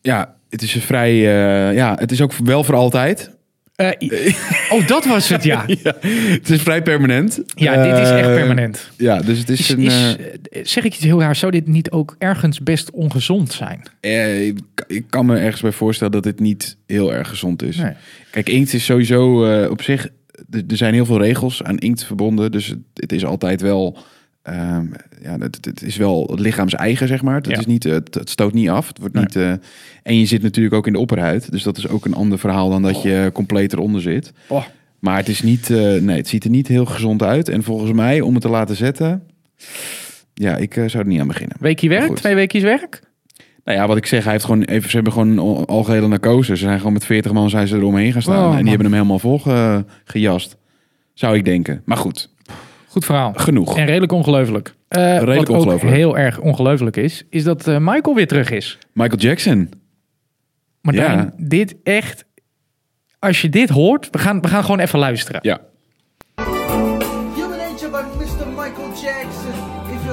[SPEAKER 1] ja, het is een vrij, eh, ja, het is ook wel voor altijd.
[SPEAKER 2] Eh, i- oh, dat was het, ja.
[SPEAKER 1] Het is vrij permanent.
[SPEAKER 2] Ja, dit is echt
[SPEAKER 1] Eh,
[SPEAKER 2] permanent.
[SPEAKER 1] Ja, dus het is,
[SPEAKER 2] Is,
[SPEAKER 1] een.
[SPEAKER 2] is, eh, zeg ik iets heel raars? Zou dit niet ook ergens best ongezond zijn?
[SPEAKER 1] eh, eh, ik, ik kan me ergens bij voorstellen dat dit niet heel erg gezond is.
[SPEAKER 2] Nee.
[SPEAKER 1] Kijk, inkt is sowieso eh, op zich. Er er zijn heel veel regels aan inkt verbonden, dus het, het is altijd wel. ehm, ja, het, het is wel het lichaams-eigen, zeg maar. Het,
[SPEAKER 2] Ja.
[SPEAKER 1] is niet, eh, het, het stoot niet af. Het wordt
[SPEAKER 2] Nee.
[SPEAKER 1] niet, eh, en je zit natuurlijk ook in de opperhuid. Dus dat is ook een ander verhaal dan dat je compleet eronder zit.
[SPEAKER 2] Oh.
[SPEAKER 1] Maar het, is niet, eh, nee, het ziet er niet heel gezond uit. En volgens mij, om het te laten zetten... Ja, ik eh, zou er niet aan beginnen.
[SPEAKER 2] Weekje
[SPEAKER 1] Maar
[SPEAKER 2] werk?
[SPEAKER 1] goed.
[SPEAKER 2] Twee weekjes werk?
[SPEAKER 1] Nou ja, wat ik zeg, hij heeft gewoon even, ze hebben gewoon een al- algehele narcose. Ze zijn gewoon met 40 man zijn ze eromheen gaan staan.
[SPEAKER 2] Oh,
[SPEAKER 1] en die
[SPEAKER 2] man.
[SPEAKER 1] hebben hem helemaal vol ge- gejast. Zou ik denken. Maar goed,
[SPEAKER 2] Goed verhaal.
[SPEAKER 1] genoeg.
[SPEAKER 2] En redelijk ongelooflijk. Eh,
[SPEAKER 1] Redelijk
[SPEAKER 2] wat ook
[SPEAKER 1] ongelooflijk.
[SPEAKER 2] heel erg ongelooflijk is, is dat eh, Michael weer terug is.
[SPEAKER 1] Michael Jackson.
[SPEAKER 2] Maar
[SPEAKER 1] Ja.
[SPEAKER 2] dit echt... Als je dit hoort, we gaan, we gaan gewoon even luisteren.
[SPEAKER 1] Ja.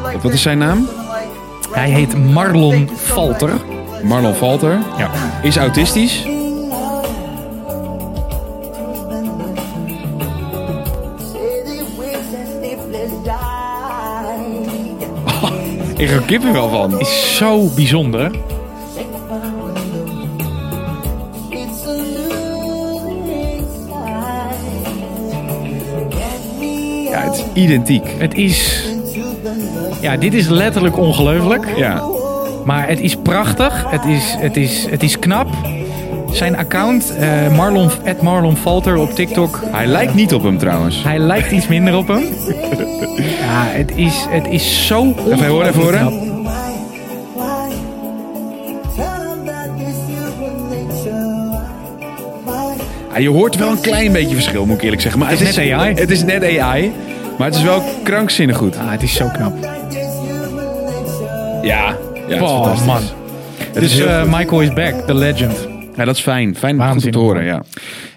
[SPEAKER 1] Wat
[SPEAKER 3] Wat
[SPEAKER 1] is
[SPEAKER 3] is
[SPEAKER 1] zijn
[SPEAKER 3] zijn
[SPEAKER 1] naam?
[SPEAKER 3] naam?
[SPEAKER 2] Hij heet Marlon Falter.
[SPEAKER 1] Marlon Valter
[SPEAKER 2] Ja.
[SPEAKER 1] is autistisch. Ik heb er kippenvel van.
[SPEAKER 2] Is zo bijzonder.
[SPEAKER 3] It's a losing side. Get me
[SPEAKER 1] Ja, het is identiek.
[SPEAKER 2] Het is. Ja, dit is letterlijk ongelooflijk.
[SPEAKER 1] Ja.
[SPEAKER 2] Maar het is prachtig. Het is, het is, het is knap. Zijn account, eh Marlon, at Marlon Falter op TikTok.
[SPEAKER 1] Hij lijkt niet op hem trouwens.
[SPEAKER 2] Hij lijkt iets minder op hem. Ja, het is, het is zo
[SPEAKER 1] Even horen, even
[SPEAKER 2] ongelooflijk
[SPEAKER 1] horen.
[SPEAKER 2] knap.
[SPEAKER 3] why, why? Tell 'em that it's human nature. Why, why?
[SPEAKER 1] Ja, je hoort wel een klein beetje verschil, moet ik eerlijk zeggen. Maar het,
[SPEAKER 2] is net AI.
[SPEAKER 1] Het is net AI, maar het is wel krankzinnig goed.
[SPEAKER 2] Ah, het is zo knap.
[SPEAKER 3] That it's human nature.
[SPEAKER 1] Ja, ja het is
[SPEAKER 2] Oh,
[SPEAKER 1] fantastisch.
[SPEAKER 2] man.
[SPEAKER 1] Het is
[SPEAKER 2] Dus
[SPEAKER 1] heel
[SPEAKER 2] eh,
[SPEAKER 1] goed.
[SPEAKER 2] Michael is back, the legend.
[SPEAKER 1] ja, dat is fijn. Fijn om goed om
[SPEAKER 2] Waanzinnig.
[SPEAKER 1] te horen, ja.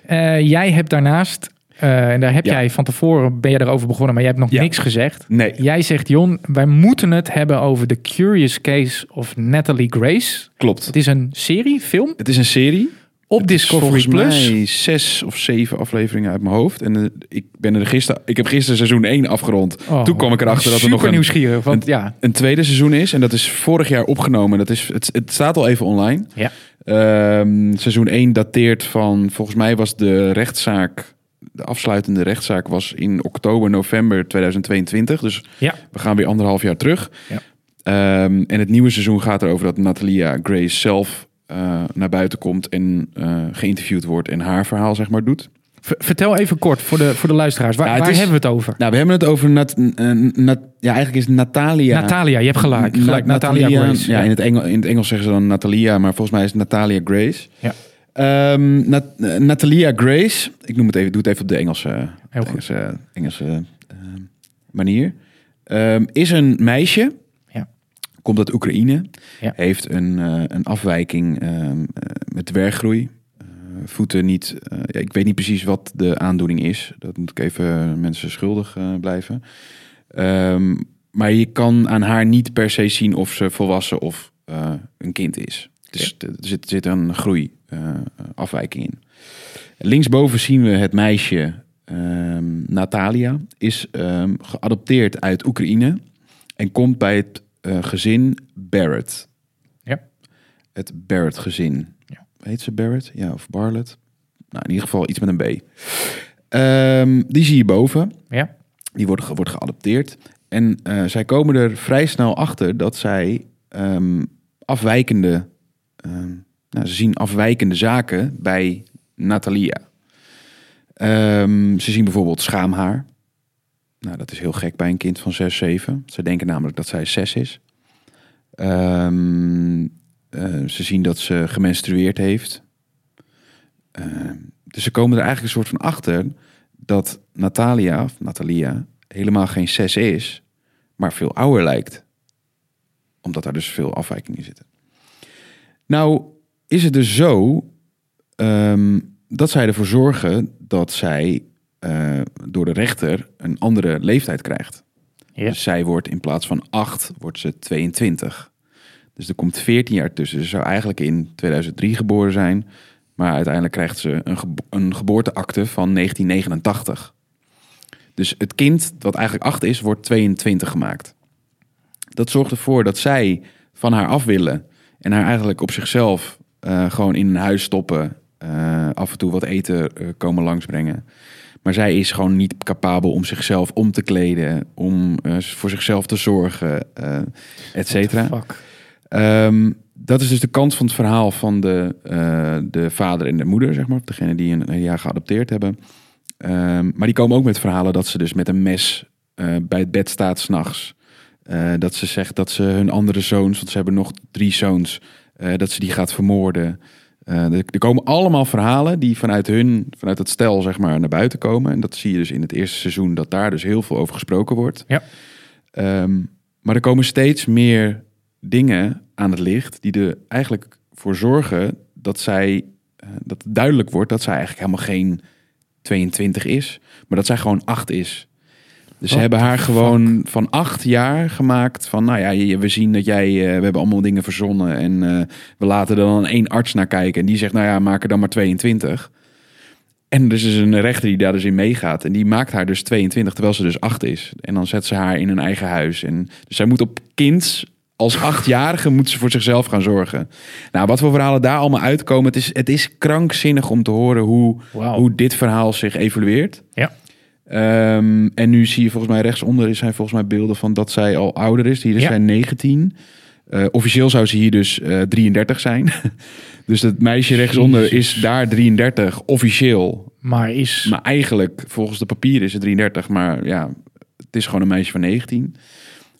[SPEAKER 2] Eh, jij hebt daarnaast, eh, en daar heb
[SPEAKER 1] Ja.
[SPEAKER 2] jij van tevoren, ben je erover begonnen, maar jij hebt nog
[SPEAKER 1] Ja.
[SPEAKER 2] niks gezegd.
[SPEAKER 1] Nee.
[SPEAKER 2] Jij zegt, Jon, wij moeten het hebben over The Curious Case of Natalie Grace.
[SPEAKER 1] Klopt.
[SPEAKER 2] Het is een serie, film,
[SPEAKER 1] Het is een serie.
[SPEAKER 2] op Discovery
[SPEAKER 1] Volgens
[SPEAKER 2] Plus.
[SPEAKER 1] mij zes of zeven afleveringen uit mijn hoofd. En eh, ik, ben er gisteren, ik heb gisteren seizoen 1 afgerond.
[SPEAKER 2] Oh,
[SPEAKER 1] Toen kwam ik erachter dat er nog
[SPEAKER 2] super
[SPEAKER 1] een,
[SPEAKER 2] nieuwsgierig, want ja.
[SPEAKER 1] een tweede seizoen is. En dat is vorig jaar opgenomen. Dat is, het, het staat al even online.
[SPEAKER 2] ja.
[SPEAKER 1] Ehm, seizoen 1 dateert van, volgens mij was de rechtszaak, de afsluitende rechtszaak was in oktober, november 2022. Dus
[SPEAKER 2] Ja.
[SPEAKER 1] we gaan weer anderhalf jaar terug.
[SPEAKER 2] Ja.
[SPEAKER 1] Ehm, en het nieuwe seizoen gaat erover dat Natalia Grace zelf eh, naar buiten komt en eh, geïnterviewd wordt en haar verhaal zeg maar doet.
[SPEAKER 2] V- vertel even kort voor de, voor de luisteraars, waar,
[SPEAKER 1] Ja, het
[SPEAKER 2] waar
[SPEAKER 1] is-
[SPEAKER 2] hebben we het over?
[SPEAKER 1] Nou, we hebben het over Nat, eh, Nat- ja, eigenlijk is Natalia.
[SPEAKER 2] Natalia, je hebt gelijk.
[SPEAKER 1] Na-
[SPEAKER 2] gelijk Natalia, Grace.
[SPEAKER 1] Ja, In, het Engel, in het Engels zeggen ze dan Natalia, maar volgens mij is het Natalia Grace.
[SPEAKER 2] Ja.
[SPEAKER 1] Ehm, Nat- eh, Natalia Grace, ik noem het even, doe het even op de Engelse, op de
[SPEAKER 2] goed.
[SPEAKER 1] Engelse, Engelse ehm, manier, Ehm, is een meisje.
[SPEAKER 2] Ja.
[SPEAKER 1] Komt uit Oekraïne.
[SPEAKER 2] Ja.
[SPEAKER 1] Heeft een, eh, een afwijking ehm, eh, met dwerggroei. Eh, voeten niet. eh, ja, ik weet niet precies wat de aandoening is. Dat moet ik even mensen schuldig eh, blijven. Ehm, maar je kan aan haar niet per se zien of ze volwassen of eh, een kind is. Dus er zit, zit een groeiafwijking in. Linksboven zien we het meisje ehm, Natalia. Is ehm, geadopteerd uit Oekraïne. En komt bij het eh, gezin Barrett.
[SPEAKER 2] Ja.
[SPEAKER 1] Het Barrett gezin.
[SPEAKER 2] Ja.
[SPEAKER 1] Heet ze Barrett? Ja, of Barlett? Nou, in ieder geval iets met een B. Ehm, die zie je boven.
[SPEAKER 2] Ja.
[SPEAKER 1] Die wordt, ge- wordt geadopteerd. En eh, zij komen er vrij snel achter dat zij ehm, afwijkende... ehm, nou, ze zien afwijkende zaken bij Natalia. Ehm, ze zien bijvoorbeeld schaamhaar. Nou, dat is heel gek bij een kind van 6, 7. Ze denken namelijk dat zij 6 is. Ehm, eh, ze zien dat ze gemenstrueerd heeft. Ehm, dus ze komen er eigenlijk een soort van achter dat Natalia, of Natalia, helemaal geen 6 is, maar veel ouder lijkt. Omdat daar dus veel afwijkingen zitten. Nou, is het dus zo ehm, dat zij ervoor zorgen dat zij eh, door de rechter een andere leeftijd krijgt.
[SPEAKER 2] Ja.
[SPEAKER 1] Dus zij wordt in plaats van 8, wordt ze 22. Dus er komt 14 jaar tussen. Ze zou eigenlijk in 2003 geboren zijn. Maar uiteindelijk krijgt ze een, gebo- een geboorteakte van 1989. Dus het kind dat eigenlijk 8 is, wordt 22 gemaakt. Dat zorgt ervoor dat zij van haar af willen. En haar eigenlijk op zichzelf eh, gewoon in een huis stoppen. eh, af en toe wat eten eh, komen langsbrengen. Maar zij is gewoon niet capabel om zichzelf om te kleden. Om eh, voor zichzelf te zorgen, eh et cetera.
[SPEAKER 2] Fuck.
[SPEAKER 1] Ehm, dat is dus de kant van het verhaal van de, eh, de vader en de moeder, zeg maar. Degene die een, een jaar geadopteerd hebben. Ehm, maar die komen ook met verhalen dat ze dus met een mes eh, bij het bed staat s'nachts. Eh dat ze zegt dat ze hun andere zoons, want ze hebben nog drie zoons, eh, dat ze die gaat vermoorden. Eh, er, er komen allemaal verhalen die vanuit hun, vanuit het stel, zeg maar, naar buiten komen. En dat zie je dus in het eerste seizoen, dat daar dus heel veel over gesproken wordt.
[SPEAKER 2] Ja.
[SPEAKER 1] Ehm, maar er komen steeds meer dingen aan het licht die er eigenlijk voor zorgen dat zij eh, dat het duidelijk wordt dat zij eigenlijk helemaal geen 22 is, maar dat zij gewoon 8 is. Dus ze
[SPEAKER 2] What
[SPEAKER 1] hebben
[SPEAKER 2] the
[SPEAKER 1] haar
[SPEAKER 2] Oh, fuck?
[SPEAKER 1] gewoon van acht jaar gemaakt. Van nou ja, je- we zien dat jij. eh, we hebben allemaal dingen verzonnen. En eh, we laten er dan één arts naar kijken. En die zegt, nou ja, maak er dan maar 22. En dus is een rechter die daar dus in meegaat. En die maakt haar dus 22, terwijl ze dus 8 is. En dan zet ze haar in een eigen huis. En dus zij moet op kinds Als achtjarige moet ze voor zichzelf gaan zorgen. Nou, wat voor verhalen daar allemaal uitkomen. Het is, het is krankzinnig om te horen hoe,
[SPEAKER 2] Wauw.
[SPEAKER 1] hoe dit verhaal zich evolueert.
[SPEAKER 2] Ja.
[SPEAKER 1] Ehm, en nu zie je volgens mij rechtsonder zijn volgens mij beelden van dat zij al ouder is. Hier is
[SPEAKER 2] Ja.
[SPEAKER 1] zij 19. Eh, officieel zou ze hier dus eh, 33 zijn. dus dat meisje rechtsonder is daar 33 officieel.
[SPEAKER 2] Maar is...
[SPEAKER 1] Maar eigenlijk, volgens de papieren is ze 33. Maar ja, het is gewoon een meisje van 19.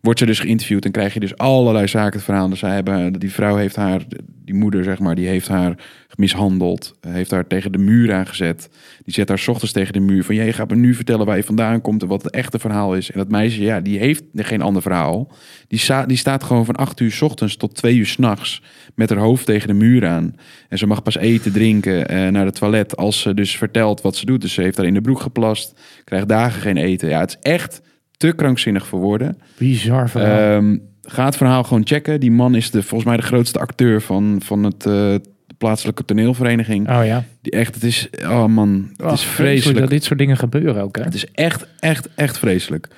[SPEAKER 1] Wordt ze dus geïnterviewd en krijg je dus allerlei zaken te verhalen. Dus zij hebben, die vrouw heeft haar, die moeder zeg maar, die heeft haar mishandeld. Heeft haar tegen de muur aangezet. Die zet haar 's ochtends tegen de muur van... jij gaat me nu vertellen waar je vandaan komt en wat het echte verhaal is. En dat meisje, ja, die heeft geen ander verhaal. Die, sta- die staat gewoon van 8 uur 's ochtends tot 2 uur 's nachts met haar hoofd tegen de muur aan. En ze mag pas eten, drinken, eh, naar het toilet als ze dus vertelt wat ze doet. Dus ze heeft haar in de broek geplast, krijgt dagen geen eten. Ja, het is echt te krankzinnig voor woorden.
[SPEAKER 2] Bizar verhaal.
[SPEAKER 1] Ehm, ga het verhaal gewoon checken. Die man is de, volgens mij de grootste acteur van, van het, eh, de plaatselijke toneelvereniging.
[SPEAKER 2] oh ja.
[SPEAKER 1] Die echt, Eh, het is, oh man, het is vreselijk.
[SPEAKER 2] dat dit soort dingen gebeuren ook, hè?
[SPEAKER 1] Het is echt, echt, echt vreselijk.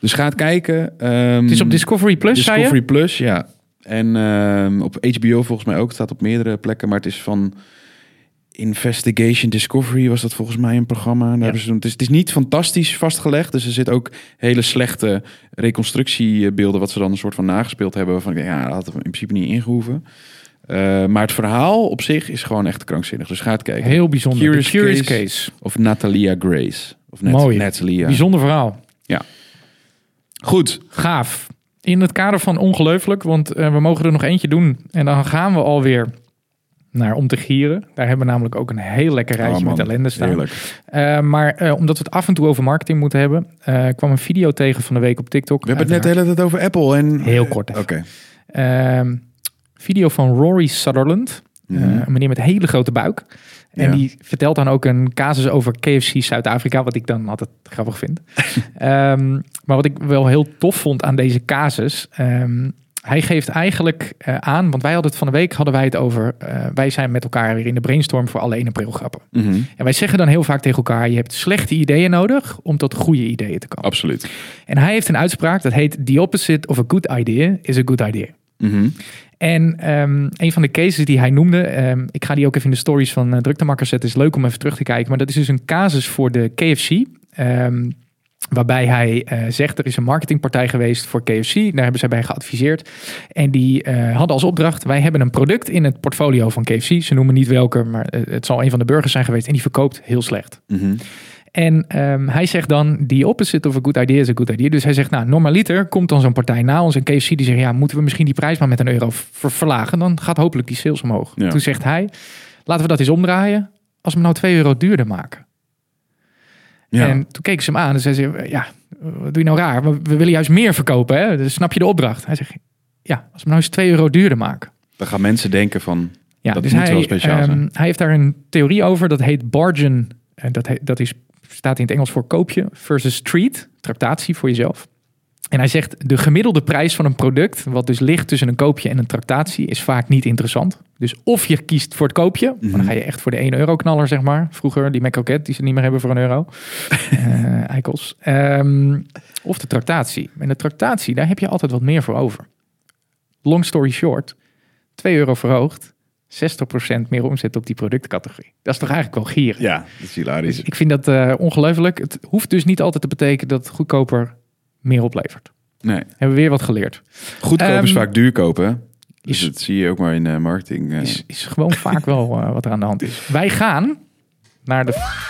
[SPEAKER 1] Dus ga het kijken. ehm,
[SPEAKER 2] Het is op Discovery Plus, zei
[SPEAKER 1] Discovery Plus, ja. En ehm, op HBO volgens mij ook. Het staat op meerdere plekken, maar het is van Investigation Discovery was dat volgens mij een programma. Daar hebben ze, toen- het, is, het is niet fantastisch vastgelegd, dus er zit ook hele slechte reconstructiebeelden wat ze dan een soort van nagespeeld hebben. Van ja, dat had er in principe niet ingehoeven. Eh, maar het verhaal op zich is gewoon echt krankzinnig. Dus ga het
[SPEAKER 2] je?
[SPEAKER 1] kijken.
[SPEAKER 2] Heel bijzonder. The
[SPEAKER 1] Curious
[SPEAKER 2] Curious,
[SPEAKER 1] Case.
[SPEAKER 2] Case.
[SPEAKER 1] Of Natalia Grace. Of Nat-
[SPEAKER 2] Mooi.
[SPEAKER 1] Natalia.
[SPEAKER 2] Bijzonder verhaal.
[SPEAKER 1] Goed.
[SPEAKER 2] Gaaf. In het kader van ongelooflijk, want eh, we mogen er nog eentje doen. En dan gaan we alweer naar Om te Gieren. Daar hebben we namelijk ook een heel lekker rijtje
[SPEAKER 1] Oh, man.
[SPEAKER 2] met ellende staan.
[SPEAKER 1] Heerlijk.
[SPEAKER 2] Eh, maar eh, omdat we het af en toe over marketing moeten hebben, eh, kwam een video tegen van de week op TikTok. Eh,
[SPEAKER 1] We hebben het net de hele tijd over Apple en...
[SPEAKER 2] Heel kort
[SPEAKER 1] Oké.
[SPEAKER 2] even. Ehm, video van Rory Sutherland. Eh,
[SPEAKER 1] Mhm.
[SPEAKER 2] een meneer met een hele grote buik. En
[SPEAKER 1] Ja.
[SPEAKER 2] die vertelt dan ook een casus over KFC Zuid-Afrika, wat ik dan altijd grappig vind. Ehm, maar wat ik wel heel tof vond aan deze casus. ehm, hij geeft eigenlijk eh, aan, want wij hadden het van de week hadden wij het over. eh, wij zijn met elkaar weer in de brainstorm voor alle 1 april grappen.
[SPEAKER 1] Mhm.
[SPEAKER 2] En wij zeggen dan heel vaak tegen elkaar: je hebt slechte ideeën nodig om tot goede ideeën te komen.
[SPEAKER 1] Absoluut.
[SPEAKER 2] En hij heeft een uitspraak dat heet: The opposite of a good idea is a good idea.
[SPEAKER 1] Mhm.
[SPEAKER 2] En ehm, een van de cases die hij noemde, ehm, ik ga die ook even in de stories van eh, Druktemakkers zetten, is leuk om even terug te kijken. Maar dat is dus een casus voor de KFC. ehm, waarbij hij eh, zegt, er is een marketingpartij geweest voor KFC. Daar hebben zij bij geadviseerd. En die eh, hadden als opdracht, wij hebben een product in het portfolio van KFC. Ze noemen niet welke, maar eh, het zal een van de burgers zijn geweest. En die verkoopt heel slecht.
[SPEAKER 1] Mhm.
[SPEAKER 2] En ehm, hij zegt dan, the opposite of a good idea is a good idea. Dus hij zegt, nou, normaliter komt dan zo'n partij na ons en KFC die zegt, ja, moeten we misschien die prijs maar met een euro ver- verlagen? Dan gaat hopelijk die sales omhoog.
[SPEAKER 1] Ja.
[SPEAKER 2] Toen zegt hij, laten we dat eens omdraaien, als we hem nou 2 euro duurder maken.
[SPEAKER 1] Ja.
[SPEAKER 2] En toen keek ze hem aan en zei ze, ja, wat doe je nou raar? We, we willen juist meer verkopen, hè? Dus snap je de opdracht? Hij zegt, ja, als we hem nou eens 2 euro duurder maken.
[SPEAKER 1] Dan gaan mensen denken van...
[SPEAKER 2] Ja,
[SPEAKER 1] Dat
[SPEAKER 2] dus
[SPEAKER 1] moet
[SPEAKER 2] hij,
[SPEAKER 1] wel speciaal
[SPEAKER 2] ehm,
[SPEAKER 1] zijn.
[SPEAKER 2] Hij heeft daar een theorie over, dat heet bargain. En dat, he- dat is, staat in het Engels voor koopje versus treat, tractatie voor jezelf. En hij zegt, de gemiddelde prijs van een product, wat dus ligt tussen een koopje en een tractatie, is vaak niet interessant. Dus of je kiest voor het koopje, maar dan
[SPEAKER 1] Mhm.
[SPEAKER 2] ga je echt voor de 1 euro knaller, zeg maar. Vroeger die McCroket, die ze niet meer hebben voor een euro. Eh, eikels. Ehm, of de tractatie. En de tractatie, daar heb je altijd wat meer voor over. Long story short, 2 euro verhoogd, 60% meer omzet op die productcategorie. Dat is toch eigenlijk wel gieren?
[SPEAKER 1] Ja, dat is hilarisch.
[SPEAKER 2] Ik vind dat eh ongelooflijk. Het hoeft dus niet altijd te betekenen dat goedkoper meer oplevert.
[SPEAKER 1] Nee.
[SPEAKER 2] Hebben we weer wat geleerd.
[SPEAKER 1] Goedkoop is
[SPEAKER 2] Ehm,
[SPEAKER 1] vaak duur kopen. Dus
[SPEAKER 2] is-
[SPEAKER 1] dat zie je ook maar in eh, marketing. eh.
[SPEAKER 2] Is, is gewoon vaak wel eh, wat er aan de hand is. Wij gaan naar de...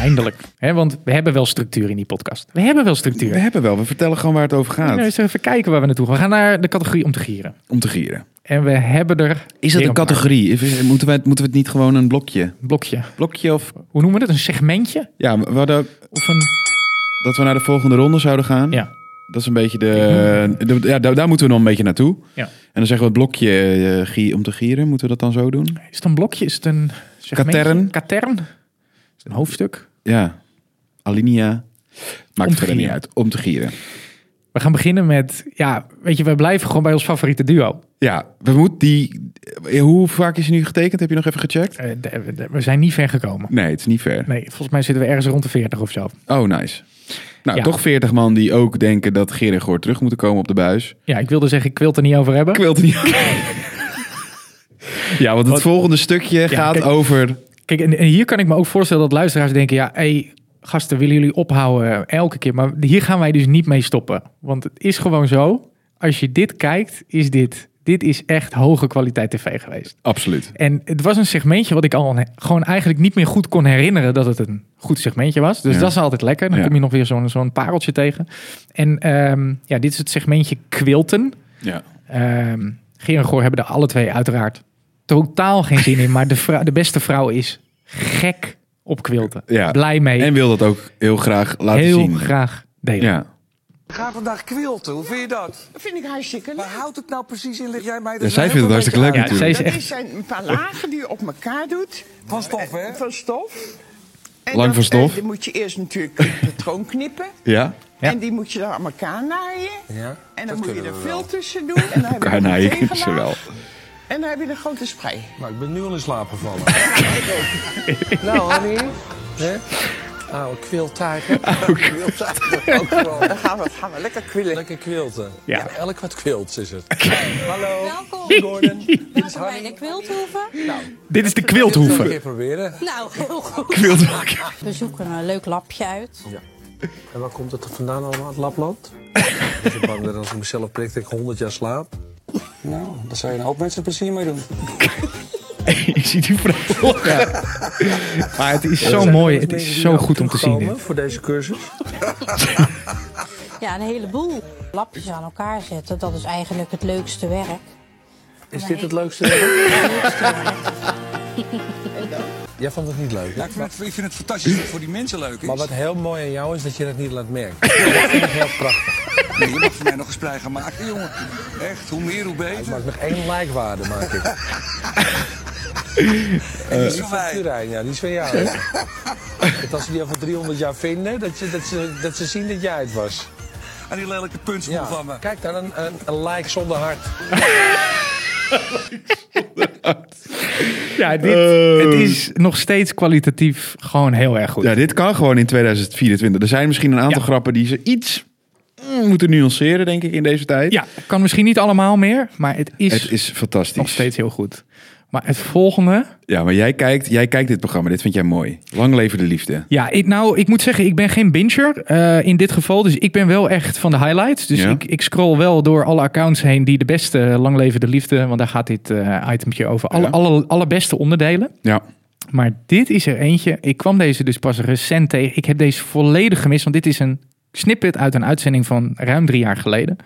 [SPEAKER 2] Eindelijk. hè? want we hebben wel structuur in die podcast. We hebben wel structuur.
[SPEAKER 1] We hebben wel, we vertellen gewoon waar het over gaat.
[SPEAKER 2] Nou, eens even kijken waar we naartoe gaan. We gaan naar de categorie om te gieren.
[SPEAKER 1] Om te gieren.
[SPEAKER 2] En we hebben er...
[SPEAKER 1] Is
[SPEAKER 2] weer
[SPEAKER 1] dat een
[SPEAKER 2] paar.
[SPEAKER 1] categorie? Is- Moeten we, het, moeten we het niet gewoon een blokje?
[SPEAKER 2] Een blokje.
[SPEAKER 1] Blokje of...
[SPEAKER 2] Hoe noemen we dat? Een segmentje?
[SPEAKER 1] Ja, we hadden ook
[SPEAKER 2] Of een...
[SPEAKER 1] dat we naar de volgende ronde zouden gaan.
[SPEAKER 2] Ja.
[SPEAKER 1] Dat is een beetje de... de- ja, daar, daar moeten we nog een beetje naartoe.
[SPEAKER 2] Ja.
[SPEAKER 1] En dan zeggen we het blokje eh, gie- om te gieren. Moeten we dat dan zo doen?
[SPEAKER 2] Is het een blokje? Is het een segmentje?
[SPEAKER 1] Katern.
[SPEAKER 2] Katern. Is het een hoofdstuk?
[SPEAKER 1] Ja. Alinea. Maakt
[SPEAKER 2] te
[SPEAKER 1] verder niet
[SPEAKER 2] gieren.
[SPEAKER 1] uit. Om te gieren.
[SPEAKER 2] We gaan beginnen met... Ja, weet je, we blijven gewoon bij ons favoriete duo.
[SPEAKER 1] Ja, we moeten die... eh, Hoe vaak is hij nu getekend? Heb je nog even gecheckt?
[SPEAKER 2] Eh, de- de- we zijn niet ver gekomen.
[SPEAKER 1] Nee, het is niet ver.
[SPEAKER 2] Nee, volgens mij zitten we ergens rond de 40 of zo.
[SPEAKER 1] Oh, nice. Nou,
[SPEAKER 2] Ja.
[SPEAKER 1] toch 40 man die ook denken dat Gerig Goor terug moeten komen op de buis.
[SPEAKER 2] Ja, ik wilde zeggen, ik wil het er niet over hebben.
[SPEAKER 1] Ik wil het niet. ja, want het
[SPEAKER 2] Wat-
[SPEAKER 1] volgende stukje gaat
[SPEAKER 2] kijk.
[SPEAKER 1] over.
[SPEAKER 2] Kijk, en, en hier kan ik me ook voorstellen dat luisteraars denken: ja, hey, gasten, willen jullie ophouden elke keer? Maar hier gaan wij dus niet mee stoppen. Want het is gewoon zo: als je dit kijkt, is dit. Dit is echt hoge kwaliteit tv geweest.
[SPEAKER 1] Absoluut.
[SPEAKER 2] En het was een segmentje wat ik al he- gewoon eigenlijk niet meer goed kon herinneren dat het een goed segmentje was. Dus
[SPEAKER 1] Ja.
[SPEAKER 2] dat is altijd lekker. Dan
[SPEAKER 1] Ja.
[SPEAKER 2] kom je nog weer zo'n zo'n pareltje tegen. En ehm, ja, dit is het segmentje kwilten.
[SPEAKER 1] Ja.
[SPEAKER 2] Ehm Geer en Goor hebben er alle twee uiteraard totaal geen zin in. Maar de, vrou- de beste vrouw is gek op quilten.
[SPEAKER 1] Ja.
[SPEAKER 2] Blij mee.
[SPEAKER 1] En wil dat ook heel graag laten
[SPEAKER 2] Heel
[SPEAKER 1] zien.
[SPEAKER 2] graag delen.
[SPEAKER 1] Ja.
[SPEAKER 4] Ga vandaag kwilten, hoe vind je dat?
[SPEAKER 5] Dat vind ik hartstikke leuk.
[SPEAKER 4] Waar houdt het nou precies in? Leg jij mij
[SPEAKER 1] Ja,
[SPEAKER 4] dat
[SPEAKER 1] zij vindt het hartstikke leuk
[SPEAKER 2] Ja, zij
[SPEAKER 1] natuurlijk.
[SPEAKER 2] is
[SPEAKER 5] Dat
[SPEAKER 2] echt-
[SPEAKER 5] is zijn een paar lagen die je op elkaar doet. eh,
[SPEAKER 4] Van stof, hè?
[SPEAKER 5] Van stof. En
[SPEAKER 1] Lang
[SPEAKER 5] dan,
[SPEAKER 1] van stof.
[SPEAKER 5] eh, dan moet je eerst natuurlijk het patroon knippen.
[SPEAKER 1] Ja.
[SPEAKER 2] Ja.
[SPEAKER 5] En die moet je dan aan elkaar naaien.
[SPEAKER 4] Ja,
[SPEAKER 5] en
[SPEAKER 4] dat
[SPEAKER 5] dan moet je
[SPEAKER 4] kunnen
[SPEAKER 5] er
[SPEAKER 4] we
[SPEAKER 5] veel
[SPEAKER 4] wel.
[SPEAKER 5] tussen doen. En dan heb je
[SPEAKER 1] Elkaar
[SPEAKER 5] nog een
[SPEAKER 1] naaien,
[SPEAKER 5] tegenlaag.
[SPEAKER 1] zowel.
[SPEAKER 5] En dan heb je de grote sprei.
[SPEAKER 4] Nou, ik ben nu al in slaap gevallen. nou, honey. Hè? Oude kwiltijger. Kwiltijger, ook gewoon.
[SPEAKER 5] Dan gaan we, gaan we lekker kwillen.
[SPEAKER 4] Lekker kwilten.
[SPEAKER 2] Ja.
[SPEAKER 4] Ja. Elk wat kwilts is het. Hallo,
[SPEAKER 6] Welkom.
[SPEAKER 4] Gordon. Dit is
[SPEAKER 6] Welkom bij
[SPEAKER 4] Harry.
[SPEAKER 6] de Quilthoeven.
[SPEAKER 2] Dit is de
[SPEAKER 4] Nog een
[SPEAKER 2] quilthoeven.
[SPEAKER 4] keer proberen.
[SPEAKER 6] Nou, heel goed. We zoeken een leuk lapje uit.
[SPEAKER 4] En waar komt het vandaan allemaal, het Lapland? ik ben bang dat als ik mezelf prik, dat ik 100 jaar slaap. Nou, daar zou je een hoop mensen plezier mee doen.
[SPEAKER 2] Ik zie die vrouw. Maar het is zo mooi. Het is zo goed om te zien. dit.
[SPEAKER 4] nou Voor deze cursus.
[SPEAKER 6] Ja, een heleboel. Lapjes aan elkaar zetten, dat is eigenlijk het leukste werk.
[SPEAKER 4] Is dit het leukste? Jij vond het niet leuk.
[SPEAKER 7] Ja, ik, vind het, ik vind het fantastisch dat het voor die mensen leuk is.
[SPEAKER 4] Maar wat heel mooi aan jou is dat je dat niet laat merken. Dat vind ik heel prachtig.
[SPEAKER 7] Nee, je mag voor mij nog een sprei gaan maken, jongen. Echt, hoe meer, hoe
[SPEAKER 4] Ik
[SPEAKER 7] beter.
[SPEAKER 4] maak nog één likewaarde, maak ik.
[SPEAKER 7] En die is
[SPEAKER 4] Die
[SPEAKER 7] van
[SPEAKER 4] van
[SPEAKER 7] mij.
[SPEAKER 4] Turijn, ja, die is van jou. Dat als ze die over 300 jaar vinden, dat, je, dat, ze, dat ze zien dat jij het was.
[SPEAKER 7] En die lelijke puntsmoel
[SPEAKER 4] Ja.
[SPEAKER 7] van me.
[SPEAKER 4] Kijk dan, een, een, een like zonder hart.
[SPEAKER 2] Ja, dit, het is nog steeds kwalitatief gewoon heel erg goed.
[SPEAKER 1] Eh. Ja, dit kan gewoon in 2024. Er zijn misschien een aantal
[SPEAKER 2] Ja.
[SPEAKER 1] grappen die ze iets mm, moeten nuanceren, denk ik, in deze tijd.
[SPEAKER 2] Ja, kan misschien niet allemaal meer, maar het is,
[SPEAKER 1] Het is fantastisch.
[SPEAKER 2] nog steeds heel goed. Maar het volgende.
[SPEAKER 1] Ja, maar jij kijkt, jij kijkt dit programma. Dit vind jij mooi. Lang leven de liefde.
[SPEAKER 2] Ja, ik, nou, ik moet zeggen, ik ben geen binger eh, in dit geval. Dus ik ben wel echt van de highlights. Dus
[SPEAKER 1] Ja.
[SPEAKER 2] ik, ik scroll wel door alle accounts heen die de beste lang leven de liefde. Want daar gaat dit eh itempje over. Alle,
[SPEAKER 1] Ja.
[SPEAKER 2] alle, alle beste onderdelen.
[SPEAKER 1] Ja.
[SPEAKER 2] Maar dit is er eentje. Ik kwam deze dus pas recent tegen. Ik heb deze volledig gemist, want dit is een snippet uit een uitzending van ruim drie jaar geleden.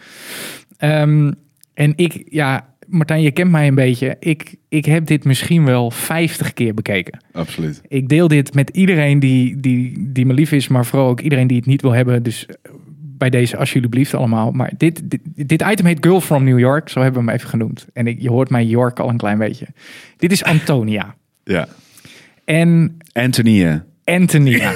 [SPEAKER 2] Ehm, en ik, ja, Martijn, je kent mij een beetje. Ik, ik heb dit misschien wel 50 keer bekeken.
[SPEAKER 1] Absoluut.
[SPEAKER 2] Ik deel dit met iedereen die, die, die me lief is, maar vooral ook iedereen die het niet wil hebben. Dus eh, bij deze alsjeblieft allemaal. Maar dit, dit, dit item heet Girl from New York, zo hebben we hem even genoemd. En ik, je hoort mij York al een klein beetje. Dit is Antonia.
[SPEAKER 1] Ja.
[SPEAKER 2] En
[SPEAKER 1] Anthony. eh, hè?
[SPEAKER 2] Antonia.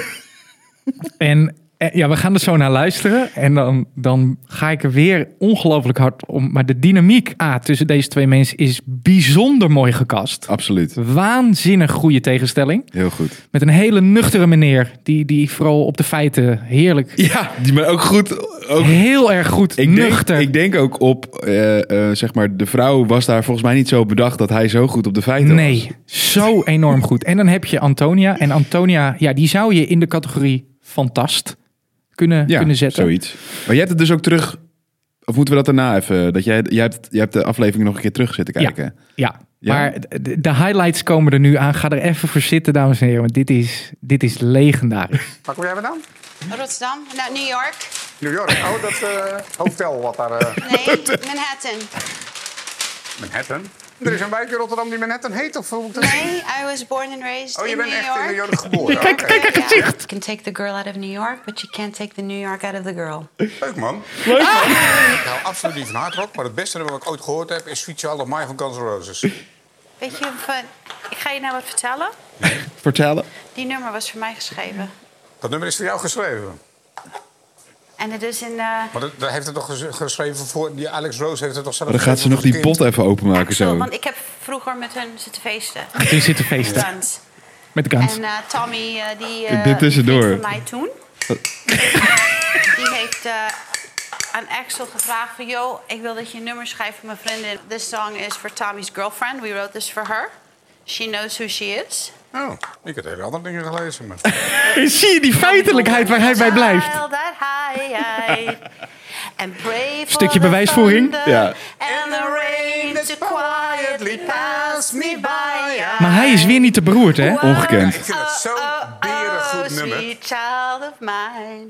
[SPEAKER 2] en eh, ja, we gaan er zo naar luisteren. En dan, dan ga ik er weer ongelooflijk hard om. Maar de dynamiek A, tussen deze twee mensen is bijzonder mooi gekast.
[SPEAKER 1] Absoluut.
[SPEAKER 2] Waanzinnig goede tegenstelling.
[SPEAKER 1] Heel goed.
[SPEAKER 2] Met een hele nuchtere meneer. Die, die vooral op de feiten heerlijk.
[SPEAKER 1] Ja, die maar ook goed. Ook,
[SPEAKER 2] Heel erg goed.
[SPEAKER 1] ik, denk,
[SPEAKER 2] nuchter.
[SPEAKER 1] ik denk ook op, eh, eh, zeg maar, de vrouw was daar volgens mij niet zo bedacht dat hij zo goed op de feiten was.
[SPEAKER 2] Nee, zo enorm goed. En dan heb je Antonia. En Antonia, ja, die zou je in de categorie fantast kunnen,
[SPEAKER 1] Ja,
[SPEAKER 2] kunnen zetten.
[SPEAKER 1] zoiets. Maar jij hebt het dus ook terug... Of moeten we dat daarna even... Dat jij, jij, hebt, jij hebt de aflevering nog een keer terug zitten kijken.
[SPEAKER 2] Ja,
[SPEAKER 1] Ja.
[SPEAKER 2] maar de, de highlights komen er nu aan. Ga er even voor zitten, dames en heren. Want dit is, dit is legendarisch.
[SPEAKER 8] Waar kom jij vandaan?
[SPEAKER 9] Rotterdam, nou, New York.
[SPEAKER 8] New York. Oh, dat eh, hotel wat daar... eh,
[SPEAKER 9] Nee, Manhattan.
[SPEAKER 8] Manhattan? Er is een wijk in Rotterdam die Manhattan heet, of hoe moet ik dat
[SPEAKER 9] Nee, I was born and raised
[SPEAKER 8] Oh, je
[SPEAKER 9] in
[SPEAKER 8] bent
[SPEAKER 9] New
[SPEAKER 8] echt in
[SPEAKER 9] York.
[SPEAKER 8] New York geboren. Oké.
[SPEAKER 9] kijk haar You can take the girl out of New York, but you can't take the New York out of the girl.
[SPEAKER 8] Leuk, man.
[SPEAKER 9] Ah!
[SPEAKER 8] Leuk. Nou, absoluut niet van hardrock, maar het beste nummer wat ik ooit gehoord heb... is Sweet Child of Mine van Guns N' Roses.
[SPEAKER 9] Weet je, van, ik ga je nou wat vertellen.
[SPEAKER 1] Vertellen.
[SPEAKER 9] Die nummer was voor mij geschreven.
[SPEAKER 8] Dat nummer is voor jou geschreven.
[SPEAKER 9] En het is in... eh
[SPEAKER 8] Maar dat, dat heeft het toch ges- geschreven voor... Die Alex Rose heeft het toch zelf...
[SPEAKER 1] Maar dan gaat ze nog die pot even openmaken
[SPEAKER 9] Axel,
[SPEAKER 1] zo.
[SPEAKER 9] want ik heb vroeger met hun zitten feesten.
[SPEAKER 2] Toen zitten feesten
[SPEAKER 9] Dans.
[SPEAKER 2] met de
[SPEAKER 9] En
[SPEAKER 2] kans.
[SPEAKER 9] eh, Tommy, eh, die...
[SPEAKER 1] Dit
[SPEAKER 9] eh, die
[SPEAKER 1] tussendoor.
[SPEAKER 9] vriend van mij toen. heeft eh, aan Axel gevraagd van... joh, ik wil dat je een nummer schrijft voor mijn vriendin. This song is for Tommy's girlfriend. We wrote this for her. She knows who she is.
[SPEAKER 8] Oh, ik had hele andere dingen gelezen. Maar...
[SPEAKER 2] Zie je die feitelijkheid waar hij bij blijft?
[SPEAKER 9] Child that high eyed. And pray for
[SPEAKER 2] Stukje
[SPEAKER 9] the
[SPEAKER 2] bewijsvoering.
[SPEAKER 9] thunder
[SPEAKER 1] Ja.
[SPEAKER 9] And the rain to quietly pass me by. oh,
[SPEAKER 2] Maar hij is weer niet te beroerd, hè?
[SPEAKER 1] Ongekend.
[SPEAKER 8] Ik vind het zo'n berengoed nummer.
[SPEAKER 9] sweet child of mine.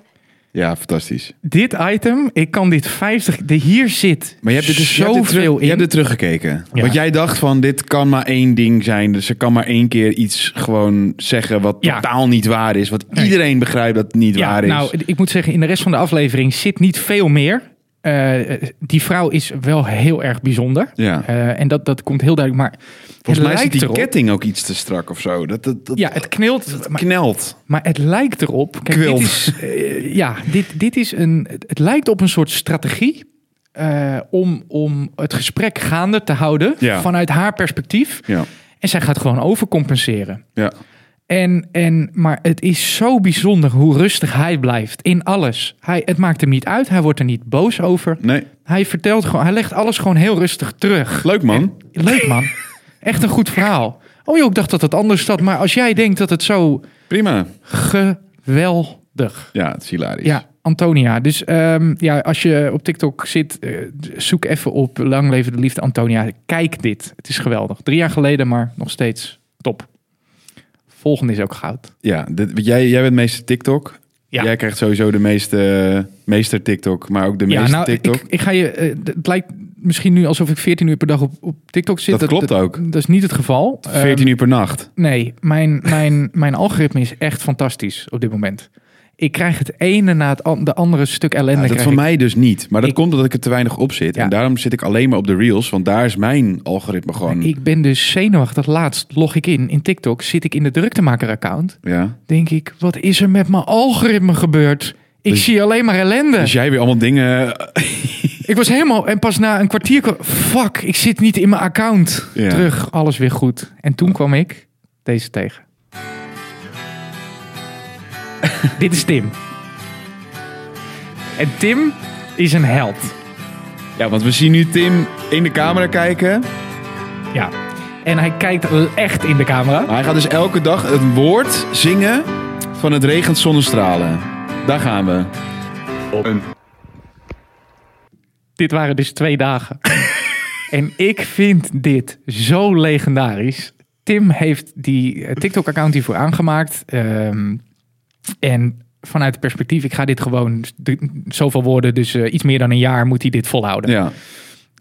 [SPEAKER 1] Ja, fantastisch.
[SPEAKER 2] Dit item, ik kan dit 50... De, hier zit
[SPEAKER 1] Maar je hebt dit dus je hebt dit terug-
[SPEAKER 2] zoveel
[SPEAKER 1] Je
[SPEAKER 2] in.
[SPEAKER 1] hebt dit teruggekeken.
[SPEAKER 2] Ja.
[SPEAKER 1] Want jij dacht van, dit kan maar één ding zijn. Dus ze kan maar één keer iets gewoon zeggen wat
[SPEAKER 2] Ja.
[SPEAKER 1] totaal niet waar is. Wat iedereen begrijpt dat het niet
[SPEAKER 2] ja,
[SPEAKER 1] waar is.
[SPEAKER 2] nou, ik moet zeggen, in de rest van de aflevering zit niet veel meer. Eh, die vrouw is wel heel erg bijzonder.
[SPEAKER 1] Ja.
[SPEAKER 2] Eh, en dat, dat komt heel duidelijk. Maar
[SPEAKER 1] Volgens mij
[SPEAKER 2] het
[SPEAKER 1] zit
[SPEAKER 2] lijkt
[SPEAKER 1] die
[SPEAKER 2] erop...
[SPEAKER 1] ketting ook iets te strak of zo. Dat, dat, dat
[SPEAKER 2] Ja, het knelt. Maar,
[SPEAKER 1] knelt.
[SPEAKER 2] maar het lijkt erop. Kijk,
[SPEAKER 1] Kwelt.
[SPEAKER 2] dit is, eh, ja, dit, dit is een. Het het lijkt op een soort strategie. eh, om, om het gesprek gaande te houden.
[SPEAKER 1] Ja.
[SPEAKER 2] vanuit haar perspectief.
[SPEAKER 1] Ja,
[SPEAKER 2] En zij gaat gewoon overcompenseren.
[SPEAKER 1] ja.
[SPEAKER 2] En, en, maar het is zo bijzonder hoe rustig hij blijft in alles. Hij, het maakt hem niet uit, hij wordt er niet boos over.
[SPEAKER 1] Nee,
[SPEAKER 2] Hij vertelt gewoon, hij legt alles gewoon heel rustig terug.
[SPEAKER 1] leuk man.
[SPEAKER 2] Leuk man. Echt een goed verhaal. Oh joh, ik dacht dat het anders zat. Maar als jij denkt dat het zo
[SPEAKER 1] Prima.
[SPEAKER 2] geweldig.
[SPEAKER 1] Ja, het is hilarisch.
[SPEAKER 2] Ja, Antonia. Dus ehm, ja, als je op TikTok zit, eh, zoek even op Lang Leven de Liefde Antonia. Kijk dit. Het is geweldig. Drie jaar geleden, maar nog steeds top. Volgende is ook goud.
[SPEAKER 1] Ja, dit- jij, jij bent meester TikTok.
[SPEAKER 2] Ja.
[SPEAKER 1] Jij krijgt sowieso de meeste meester TikTok, maar ook de meeste
[SPEAKER 2] Ja, nou,
[SPEAKER 1] TikTok.
[SPEAKER 2] ik, ik ga je. eh, d- het lijkt misschien nu alsof ik 14 uur per dag op, op TikTok zit.
[SPEAKER 1] Dat klopt ook.
[SPEAKER 2] Dat is niet het geval.
[SPEAKER 1] 14 uur per nacht.
[SPEAKER 2] Ehm, nee, mijn, mijn, mijn algoritme is echt fantastisch op dit moment. Ik krijg het ene na het an- de andere stuk ellende.
[SPEAKER 1] Ja, dat
[SPEAKER 2] krijg
[SPEAKER 1] van
[SPEAKER 2] ik.
[SPEAKER 1] mij dus niet. Maar dat
[SPEAKER 2] Ik-
[SPEAKER 1] komt omdat ik er te weinig op zit.
[SPEAKER 2] Ja.
[SPEAKER 1] En daarom zit ik alleen maar op de reels, want daar is mijn algoritme gewoon.
[SPEAKER 2] Ik ben dus zenuwachtig. Laatst log ik in in TikTok. Zit ik in de druktemaker-account.
[SPEAKER 1] Ja.
[SPEAKER 2] Denk ik, wat is er met mijn algoritme gebeurd? Ik
[SPEAKER 1] Dus-
[SPEAKER 2] zie alleen maar ellende.
[SPEAKER 1] Dus jij weer allemaal dingen.
[SPEAKER 2] Ik was helemaal, en pas na een kwartier kwam, fuck, ik zit niet in mijn account.
[SPEAKER 1] Ja.
[SPEAKER 2] Terug, alles weer goed. En toen kwam ik deze tegen. Dit is Tim. En Tim is een held.
[SPEAKER 1] Ja, want we zien nu Tim in de camera kijken.
[SPEAKER 2] Ja. En hij kijkt echt in de camera.
[SPEAKER 1] Maar hij gaat dus elke dag het woord zingen van het regent zonnestralen. Daar gaan we.
[SPEAKER 2] Dit waren dus twee dagen. en ik vind dit zo legendarisch. Tim heeft die eh, TikTok-account hiervoor aangemaakt. Ehm, en vanuit het perspectief, ik ga dit gewoon de- zoveel woorden, dus eh, iets meer dan een jaar moet hij dit volhouden.
[SPEAKER 1] Ja.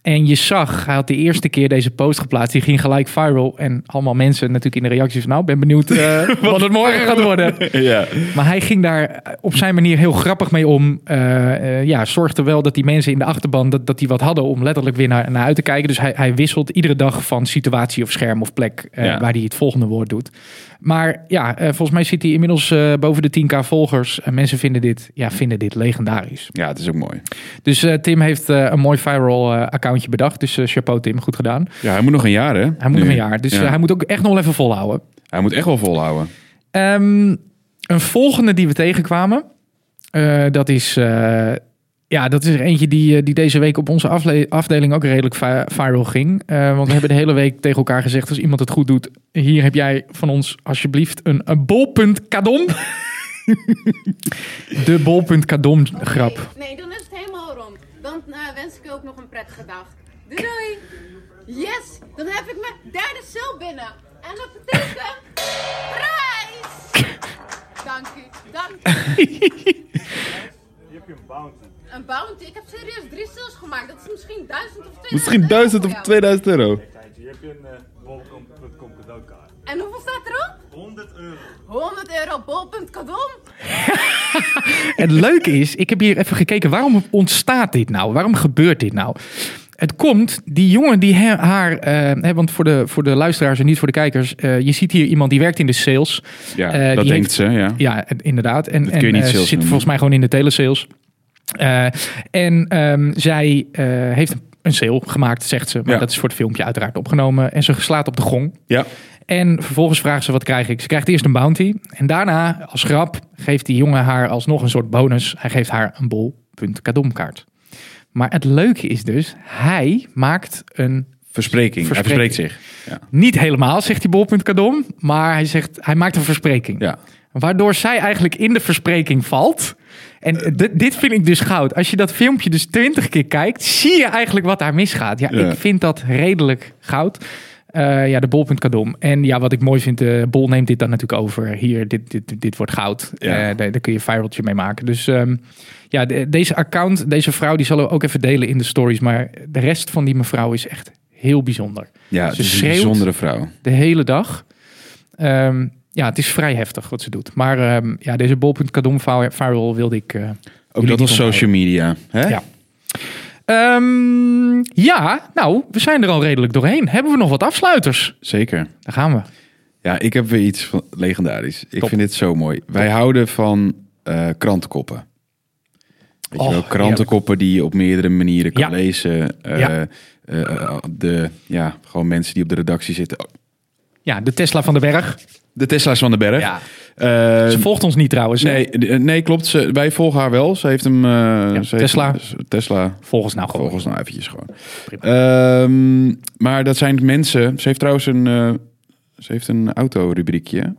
[SPEAKER 2] En je zag, hij had de eerste keer deze post geplaatst. Die ging gelijk viral. En allemaal mensen natuurlijk in de reacties van... nou, ik ben benieuwd eh, wat het morgen gaat worden.
[SPEAKER 1] ja.
[SPEAKER 2] Maar hij ging daar op zijn manier heel grappig mee om. Eh, eh, ja, zorgde wel dat die mensen in de achterban dat, dat die wat hadden om letterlijk weer naar, naar uit te kijken. Dus hij, hij wisselt iedere dag van situatie of scherm of plek eh,
[SPEAKER 1] Ja.
[SPEAKER 2] waar hij het volgende woord doet. Maar ja, eh, volgens mij zit hij inmiddels eh, boven de 10k volgers. En mensen vinden dit, ja, vinden dit legendarisch.
[SPEAKER 1] ja, het is ook mooi.
[SPEAKER 2] Dus eh, Tim heeft eh, een mooi viral eh, accountje bedacht. Dus eh, chapeau Tim, goed gedaan.
[SPEAKER 1] Ja, hij moet nog een jaar, hè?
[SPEAKER 2] Hij moet
[SPEAKER 1] Nu.
[SPEAKER 2] nog een jaar. Dus
[SPEAKER 1] Ja.
[SPEAKER 2] eh, hij moet ook echt nog wel even volhouden.
[SPEAKER 1] Hij moet echt wel volhouden.
[SPEAKER 2] Ehm, een volgende die we tegenkwamen. eh, dat is. eh, ja, dat is er eentje die, eh, die deze week op onze afle- afdeling ook redelijk vi- viral ging. Eh, want we hebben de hele week tegen elkaar gezegd: als iemand het goed doet, hier heb jij van ons alsjeblieft een, een bolpunt kadom. de bolpunt kadom grap.
[SPEAKER 10] Nee, dan is het helemaal rond. Dan eh, wens ik je ook nog een prettige dag. Doei doei! Yes! Dan heb ik mijn derde cel binnen. En dat betekent... Prijs! Dank u, dank u. Je hebt je een bounty. Een bounty? Ik heb serieus drie sales gemaakt. Dat is misschien duizend of 2000
[SPEAKER 1] Misschien
[SPEAKER 10] euro
[SPEAKER 1] 1000
[SPEAKER 10] voor
[SPEAKER 1] of
[SPEAKER 10] jou.
[SPEAKER 1] 2000 euro.
[SPEAKER 10] En hoeveel staat erop? 100 euro. 100 euro, bol.com.
[SPEAKER 2] Het leuke is, ik heb hier even gekeken, waarom ontstaat dit nou? Waarom gebeurt dit nou? Het komt, die jongen die he- haar, eh, hè, want voor de, voor de luisteraars en niet voor de kijkers, eh, je ziet hier iemand die werkt in de sales.
[SPEAKER 1] Ja,
[SPEAKER 2] Eh, die
[SPEAKER 1] dat denkt
[SPEAKER 2] heeft-
[SPEAKER 1] ze, ja.
[SPEAKER 2] Ja, en- inderdaad. En,
[SPEAKER 1] Dat
[SPEAKER 2] en
[SPEAKER 1] kun je niet
[SPEAKER 2] eh,
[SPEAKER 1] sales
[SPEAKER 2] zit
[SPEAKER 1] noemen.
[SPEAKER 2] volgens mij gewoon in de telesales. Eh, en ehm, zij eh, heeft een sale gemaakt, zegt ze. Maar
[SPEAKER 1] Ja.
[SPEAKER 2] dat is voor het filmpje uiteraard opgenomen. En ze slaat op de gong.
[SPEAKER 1] Ja.
[SPEAKER 2] En vervolgens vraagt ze wat krijg ik. Ze krijgt eerst een bounty. En daarna, als grap, geeft die jongen haar alsnog een soort bonus. Hij geeft haar een bol cadeaukaart. Maar het leuke is dus, hij maakt een
[SPEAKER 1] Verspreking. Hij
[SPEAKER 2] Verspreking.
[SPEAKER 1] verspreekt zich. Ja.
[SPEAKER 2] niet helemaal, zegt die bol.kadom, maar hij zegt hij maakt een verspreking.
[SPEAKER 1] ja.
[SPEAKER 2] Waardoor zij eigenlijk in de verspreking valt. En
[SPEAKER 1] Eh.
[SPEAKER 2] dit, dit vind ik dus goud. Als je dat filmpje dus twintig keer kijkt, zie je eigenlijk wat daar misgaat. Ja,
[SPEAKER 1] Ja.
[SPEAKER 2] ik vind dat redelijk goud. Eh, ja, de bol.kadom. En ja, wat ik mooi vind, de bol neemt dit dan natuurlijk over. Hier, dit, dit, dit wordt goud.
[SPEAKER 1] Ja.
[SPEAKER 2] Eh, daar, daar kun je een viraltje mee maken. Dus ehm, ja, de- deze account, deze vrouw, die zullen we ook even delen in de stories. Maar de rest van die mevrouw is echt heel bijzonder.
[SPEAKER 1] Ja,
[SPEAKER 2] Ze
[SPEAKER 1] het is een
[SPEAKER 2] schreeuwt.
[SPEAKER 1] bijzondere vrouw.
[SPEAKER 2] de hele dag. Ehm, ja, het is vrij heftig wat ze doet. Maar ehm, ja, deze bol.kadom viral wilde ik... eh,
[SPEAKER 1] Ook
[SPEAKER 2] jullie
[SPEAKER 1] dat
[SPEAKER 2] niet
[SPEAKER 1] was social media. Hè?
[SPEAKER 2] Ja. Ehm, ja, nou, we zijn er al redelijk doorheen. Hebben we nog wat afsluiters?
[SPEAKER 1] Zeker.
[SPEAKER 2] Daar gaan we.
[SPEAKER 1] Ja, ik heb weer iets van legendarisch. Ik
[SPEAKER 2] Top.
[SPEAKER 1] vind dit zo mooi. Wij houden van eh krantenkoppen. Weet
[SPEAKER 2] Oh,
[SPEAKER 1] je wel, krantenkoppen die je op meerdere manieren kan
[SPEAKER 2] Ja.
[SPEAKER 1] lezen. Eh,
[SPEAKER 2] Ja.
[SPEAKER 1] eh, eh, de, ja, gewoon mensen die op de redactie zitten. Oh,
[SPEAKER 2] Ja, de Tesla van de Berg.
[SPEAKER 1] De Tesla's van de Berg.
[SPEAKER 2] Ja.
[SPEAKER 1] Eh,
[SPEAKER 2] Ze volgt ons niet trouwens. hè?
[SPEAKER 1] nee, de- eh, nee, klopt. Ze, wij volgen haar wel. Ze heeft hem... eh, ze heeft
[SPEAKER 2] Tesla.
[SPEAKER 1] hem- Tesla.
[SPEAKER 2] Volg ons nou gewoon.
[SPEAKER 1] Volgens nou eventjes gewoon. Ehm, maar dat zijn mensen... Ze heeft trouwens een... eh ze heeft een autorubriekje.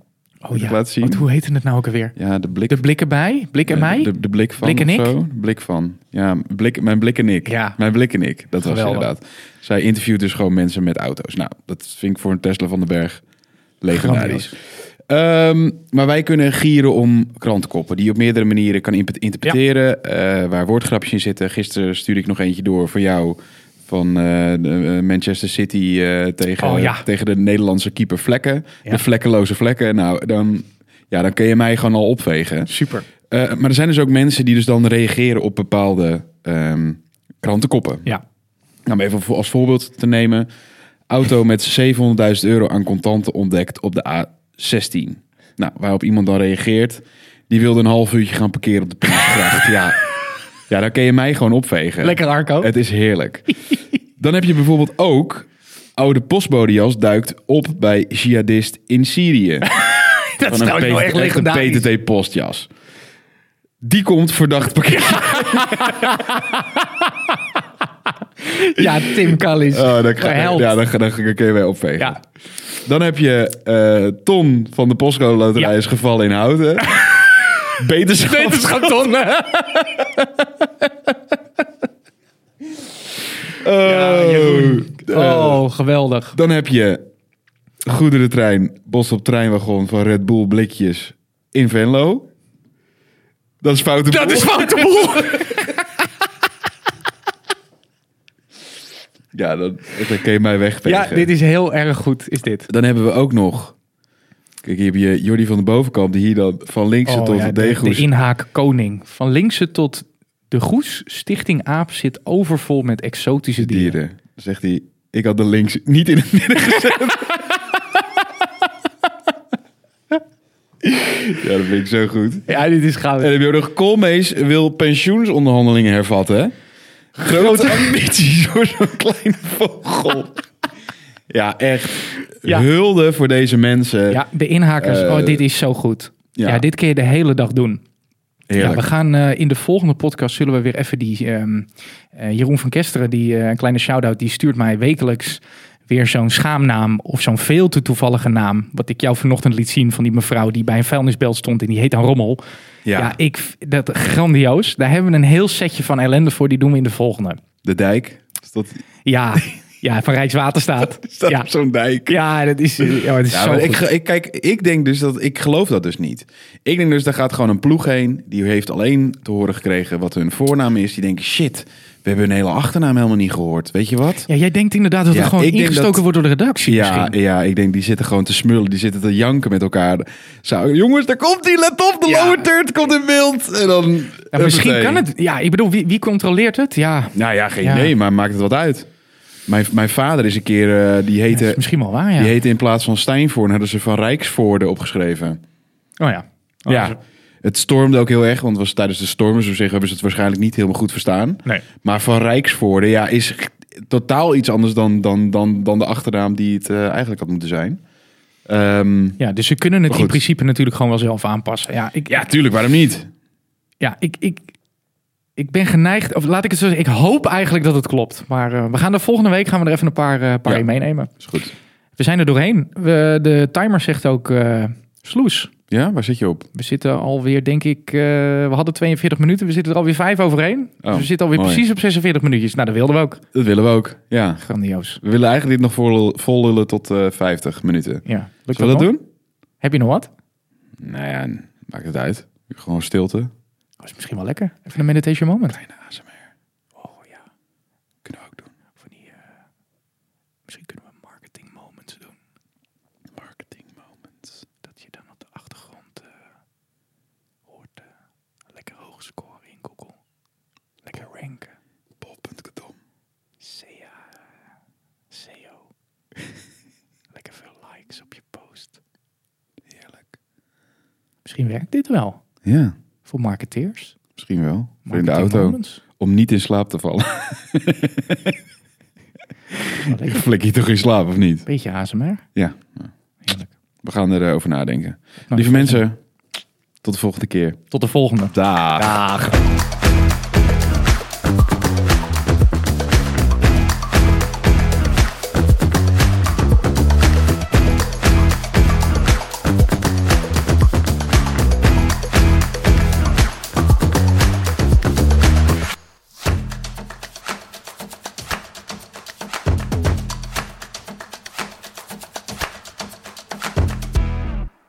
[SPEAKER 2] Oh ja,
[SPEAKER 1] laat zien.
[SPEAKER 2] want hoe heette het nou ook alweer?
[SPEAKER 1] Ja, de blik
[SPEAKER 2] De blikken bij? Blik en mij?
[SPEAKER 1] Eh, De, de blik van.
[SPEAKER 2] Blik en
[SPEAKER 1] of
[SPEAKER 2] ik?
[SPEAKER 1] zo. De blik van. Ja, blik, mijn blik en ik.
[SPEAKER 2] Ja.
[SPEAKER 1] Mijn blik en ik. Dat was
[SPEAKER 2] Geweldig.
[SPEAKER 1] inderdaad. Zij interviewt dus gewoon mensen met auto's. Nou, dat vind ik voor een Tesla van den Berg legendarisch. Ehm, maar wij kunnen gieren om krantkoppen die je op meerdere manieren kan inp- interpreteren. eh, waar woordgrapjes in zitten. Gisteren stuurde ik nog eentje door voor jou. Van eh, de, eh, Manchester City eh, tegen,
[SPEAKER 2] Oh, ja.
[SPEAKER 1] tegen de Nederlandse keeper Vlekken.
[SPEAKER 2] Ja.
[SPEAKER 1] De vlekkeloze Vlekken. Nou, dan, ja, dan kun je mij gewoon al opvegen.
[SPEAKER 2] Super.
[SPEAKER 1] Eh, maar er zijn dus ook mensen die dus dan reageren op bepaalde ehm, krantenkoppen.
[SPEAKER 2] Ja.
[SPEAKER 1] Nou, om even voor- als voorbeeld te nemen. Auto met 700.000 euro aan contanten ontdekt op de A16. Nou, waarop iemand dan reageert. Die wilde een half uurtje gaan parkeren op de Prinsengracht. ja. ja, dan kun je mij gewoon opvegen.
[SPEAKER 2] Lekker Arco.
[SPEAKER 1] Het is heerlijk. Dan heb je bijvoorbeeld ook... Oude postbodejas duikt op bij jihadist in Syrië.
[SPEAKER 2] dat is
[SPEAKER 1] Van
[SPEAKER 2] trouwens wel
[SPEAKER 1] P-
[SPEAKER 2] nou echt
[SPEAKER 1] een
[SPEAKER 2] legendarisch.
[SPEAKER 1] PTT postjas. Die komt verdacht pakket.
[SPEAKER 2] Ja, Tim Callis.
[SPEAKER 1] Oh, dan, ga,
[SPEAKER 2] Verhelpt.
[SPEAKER 1] ja, dan, ga- dan ga- kun je weer opvegen.
[SPEAKER 2] Ja.
[SPEAKER 1] Dan heb je eh, Ton van de postcode loterij
[SPEAKER 2] Ja.
[SPEAKER 1] is gevallen in Houten. Beterschap.
[SPEAKER 2] Wetenschap tonnen.
[SPEAKER 1] Oh.
[SPEAKER 2] Oh, geweldig.
[SPEAKER 1] Dan heb je goederentrein, bos op treinwagon van Red Bull blikjes in Venlo. Dat is foute
[SPEAKER 2] Dat
[SPEAKER 1] boel.
[SPEAKER 2] is van de boel.
[SPEAKER 1] Ja, dan, dan kun je mij
[SPEAKER 2] Ja,
[SPEAKER 1] wegvegen.
[SPEAKER 2] dit is heel erg goed, is dit.
[SPEAKER 1] Dan hebben we ook nog... Kijk, hier heb je Jordi van de Bovenkamp, die hier dan van links
[SPEAKER 2] Oh
[SPEAKER 1] tot
[SPEAKER 2] ja,
[SPEAKER 1] de
[SPEAKER 2] de, de
[SPEAKER 1] deeghoes
[SPEAKER 2] inhaak koning. Van linkse tot de Goes, Stichting Aap zit overvol met exotische dieren.
[SPEAKER 1] dieren. Dan zegt hij, ik had de links niet in het midden gezet. ja, dat vind ik zo goed.
[SPEAKER 2] Ja, dit is goud.
[SPEAKER 1] En dan heb je ook nog, Koolmees wil pensioensonderhandelingen hervatten. Grote ambities voor zo'n kleine vogel. ja, echt.
[SPEAKER 2] Ja.
[SPEAKER 1] Hulde voor deze mensen.
[SPEAKER 2] Ja, de inhakers.
[SPEAKER 1] Eh,
[SPEAKER 2] oh, dit is zo goed. Ja.
[SPEAKER 1] ja.
[SPEAKER 2] dit kun je de hele dag doen. Ja,
[SPEAKER 1] Heerlijk.
[SPEAKER 2] we gaan eh, in de volgende podcast zullen we weer even die ehm, eh, Jeroen van Kesteren, die eh, een kleine shout-out, die stuurt mij wekelijks weer zo'n schaamnaam of zo'n veel te toevallige naam. Wat ik jou vanochtend liet zien van die mevrouw die bij een vuilnisbelt stond en die heet dan Rommel. Ja,
[SPEAKER 1] ja.
[SPEAKER 2] ik, v- dat grandioos. Daar hebben we een heel setje van ellende voor. Die doen we in de volgende.
[SPEAKER 1] de dijk. Is dat,
[SPEAKER 2] Ja, ja van Rijkswaterstaat.
[SPEAKER 1] is dat
[SPEAKER 2] ja.
[SPEAKER 1] op zo'n dijk?
[SPEAKER 2] ja, dat is, eh, ja, dat is
[SPEAKER 1] Ja,
[SPEAKER 2] zo
[SPEAKER 1] maar ik,
[SPEAKER 2] goed.
[SPEAKER 1] ge- ik, kijk, ik denk dus dat ik geloof dat dus niet. Ik denk dus daar gaat gewoon een ploeg heen. Die heeft alleen te horen gekregen wat hun voornaam is. Die denken: shit, we hebben hun hele achternaam helemaal niet gehoord. Weet je wat?
[SPEAKER 2] Ja, jij denkt inderdaad dat
[SPEAKER 1] Ja,
[SPEAKER 2] het gewoon
[SPEAKER 1] ik denk
[SPEAKER 2] ingestoken
[SPEAKER 1] dat-
[SPEAKER 2] wordt door de redactie
[SPEAKER 1] Ja,
[SPEAKER 2] misschien.
[SPEAKER 1] ja, ik denk die zitten gewoon te smullen. Die zitten te janken met elkaar. Zou, jongens, daar komt die. Let op, de
[SPEAKER 2] Ja.
[SPEAKER 1] lower third komt in beeld. En dan.
[SPEAKER 2] Ja, Nou, misschien
[SPEAKER 1] Huppatee.
[SPEAKER 2] kan het. Ja, ik bedoel, wie, wie controleert het? Ja,
[SPEAKER 1] Nou ja, geen
[SPEAKER 2] Ja.
[SPEAKER 1] idee, maar maakt het wat uit. Mijn, mijn vader is een keer, eh, die,
[SPEAKER 2] dat is
[SPEAKER 1] heette,
[SPEAKER 2] misschien wel waar, ja.
[SPEAKER 1] die heette in plaats van Stijnvoorn, hadden ze van Rijksvoorde opgeschreven.
[SPEAKER 2] Oh ja. Oh,
[SPEAKER 1] ja.
[SPEAKER 2] dat is-
[SPEAKER 1] Het stormde ook heel erg, want het was tijdens de storm. Dus op zich hebben ze het waarschijnlijk niet helemaal goed verstaan.
[SPEAKER 2] Nee.
[SPEAKER 1] Maar van Rijksvoorde ja, is g- totaal iets anders dan, dan, dan, dan de achternaam die het eh, eigenlijk had moeten zijn. Ehm,
[SPEAKER 2] Ja, dus ze kunnen het
[SPEAKER 1] Maar
[SPEAKER 2] in
[SPEAKER 1] goed.
[SPEAKER 2] principe natuurlijk gewoon wel zelf aanpassen. Ja, ik,
[SPEAKER 1] ja, tuurlijk, waarom niet?
[SPEAKER 2] ja, ik, ik, ik ben geneigd, of laat ik het zo zeggen, ik hoop eigenlijk dat het klopt. Maar eh, we gaan er volgende week gaan we er even een paar, eh, paar
[SPEAKER 1] Ja.
[SPEAKER 2] in meenemen.
[SPEAKER 1] Is goed.
[SPEAKER 2] We zijn er doorheen. We, de timer zegt ook eh, sloes.
[SPEAKER 1] Ja, waar zit je op?
[SPEAKER 2] We zitten alweer, denk ik, eh, we hadden 42 minuten. We zitten er alweer vijf overheen. dus we zitten alweer
[SPEAKER 1] Oh, mooi.
[SPEAKER 2] precies op 46 minuutjes. Nou, dat wilden we ook.
[SPEAKER 1] Dat willen we ook. Ja.
[SPEAKER 2] Grandioos.
[SPEAKER 1] We willen eigenlijk dit nog vol, vol lullen tot eh 50 minuten.
[SPEAKER 2] Ja, lukt
[SPEAKER 1] Zullen we dat
[SPEAKER 2] nog?
[SPEAKER 1] doen?
[SPEAKER 2] Heb je nog wat?
[SPEAKER 1] Nou ja, n- maakt het uit. Gewoon stilte.
[SPEAKER 2] Dat Oh, is misschien wel lekker. Even een meditation moment.
[SPEAKER 1] Kleine ASMR.
[SPEAKER 2] Oh ja.
[SPEAKER 1] Kunnen we ook doen.
[SPEAKER 2] Van die, eh, misschien kunnen we marketing moments doen.
[SPEAKER 1] Marketing moments.
[SPEAKER 2] Dat je dan op de achtergrond eh, hoort eh, lekker hoog scoren in Google. Lekker
[SPEAKER 1] Oh.
[SPEAKER 2] ranken.
[SPEAKER 1] Bol.com.
[SPEAKER 2] CA, CO. lekker veel likes op je post.
[SPEAKER 1] Heerlijk.
[SPEAKER 2] Misschien werkt dit wel
[SPEAKER 1] Ja,
[SPEAKER 2] voor marketeers.
[SPEAKER 1] misschien wel. Voor in de
[SPEAKER 2] Marketing
[SPEAKER 1] auto.
[SPEAKER 2] moments.
[SPEAKER 1] Om niet in slaap te vallen.
[SPEAKER 2] Wel lekker.
[SPEAKER 1] Flik je toch in slaap of niet?
[SPEAKER 2] Beetje ASMR.
[SPEAKER 1] Ja.
[SPEAKER 2] Heerlijk.
[SPEAKER 1] We gaan erover nadenken.
[SPEAKER 2] Nou,
[SPEAKER 1] Lieve mensen, tot de volgende keer.
[SPEAKER 2] Tot de volgende.
[SPEAKER 1] Daag.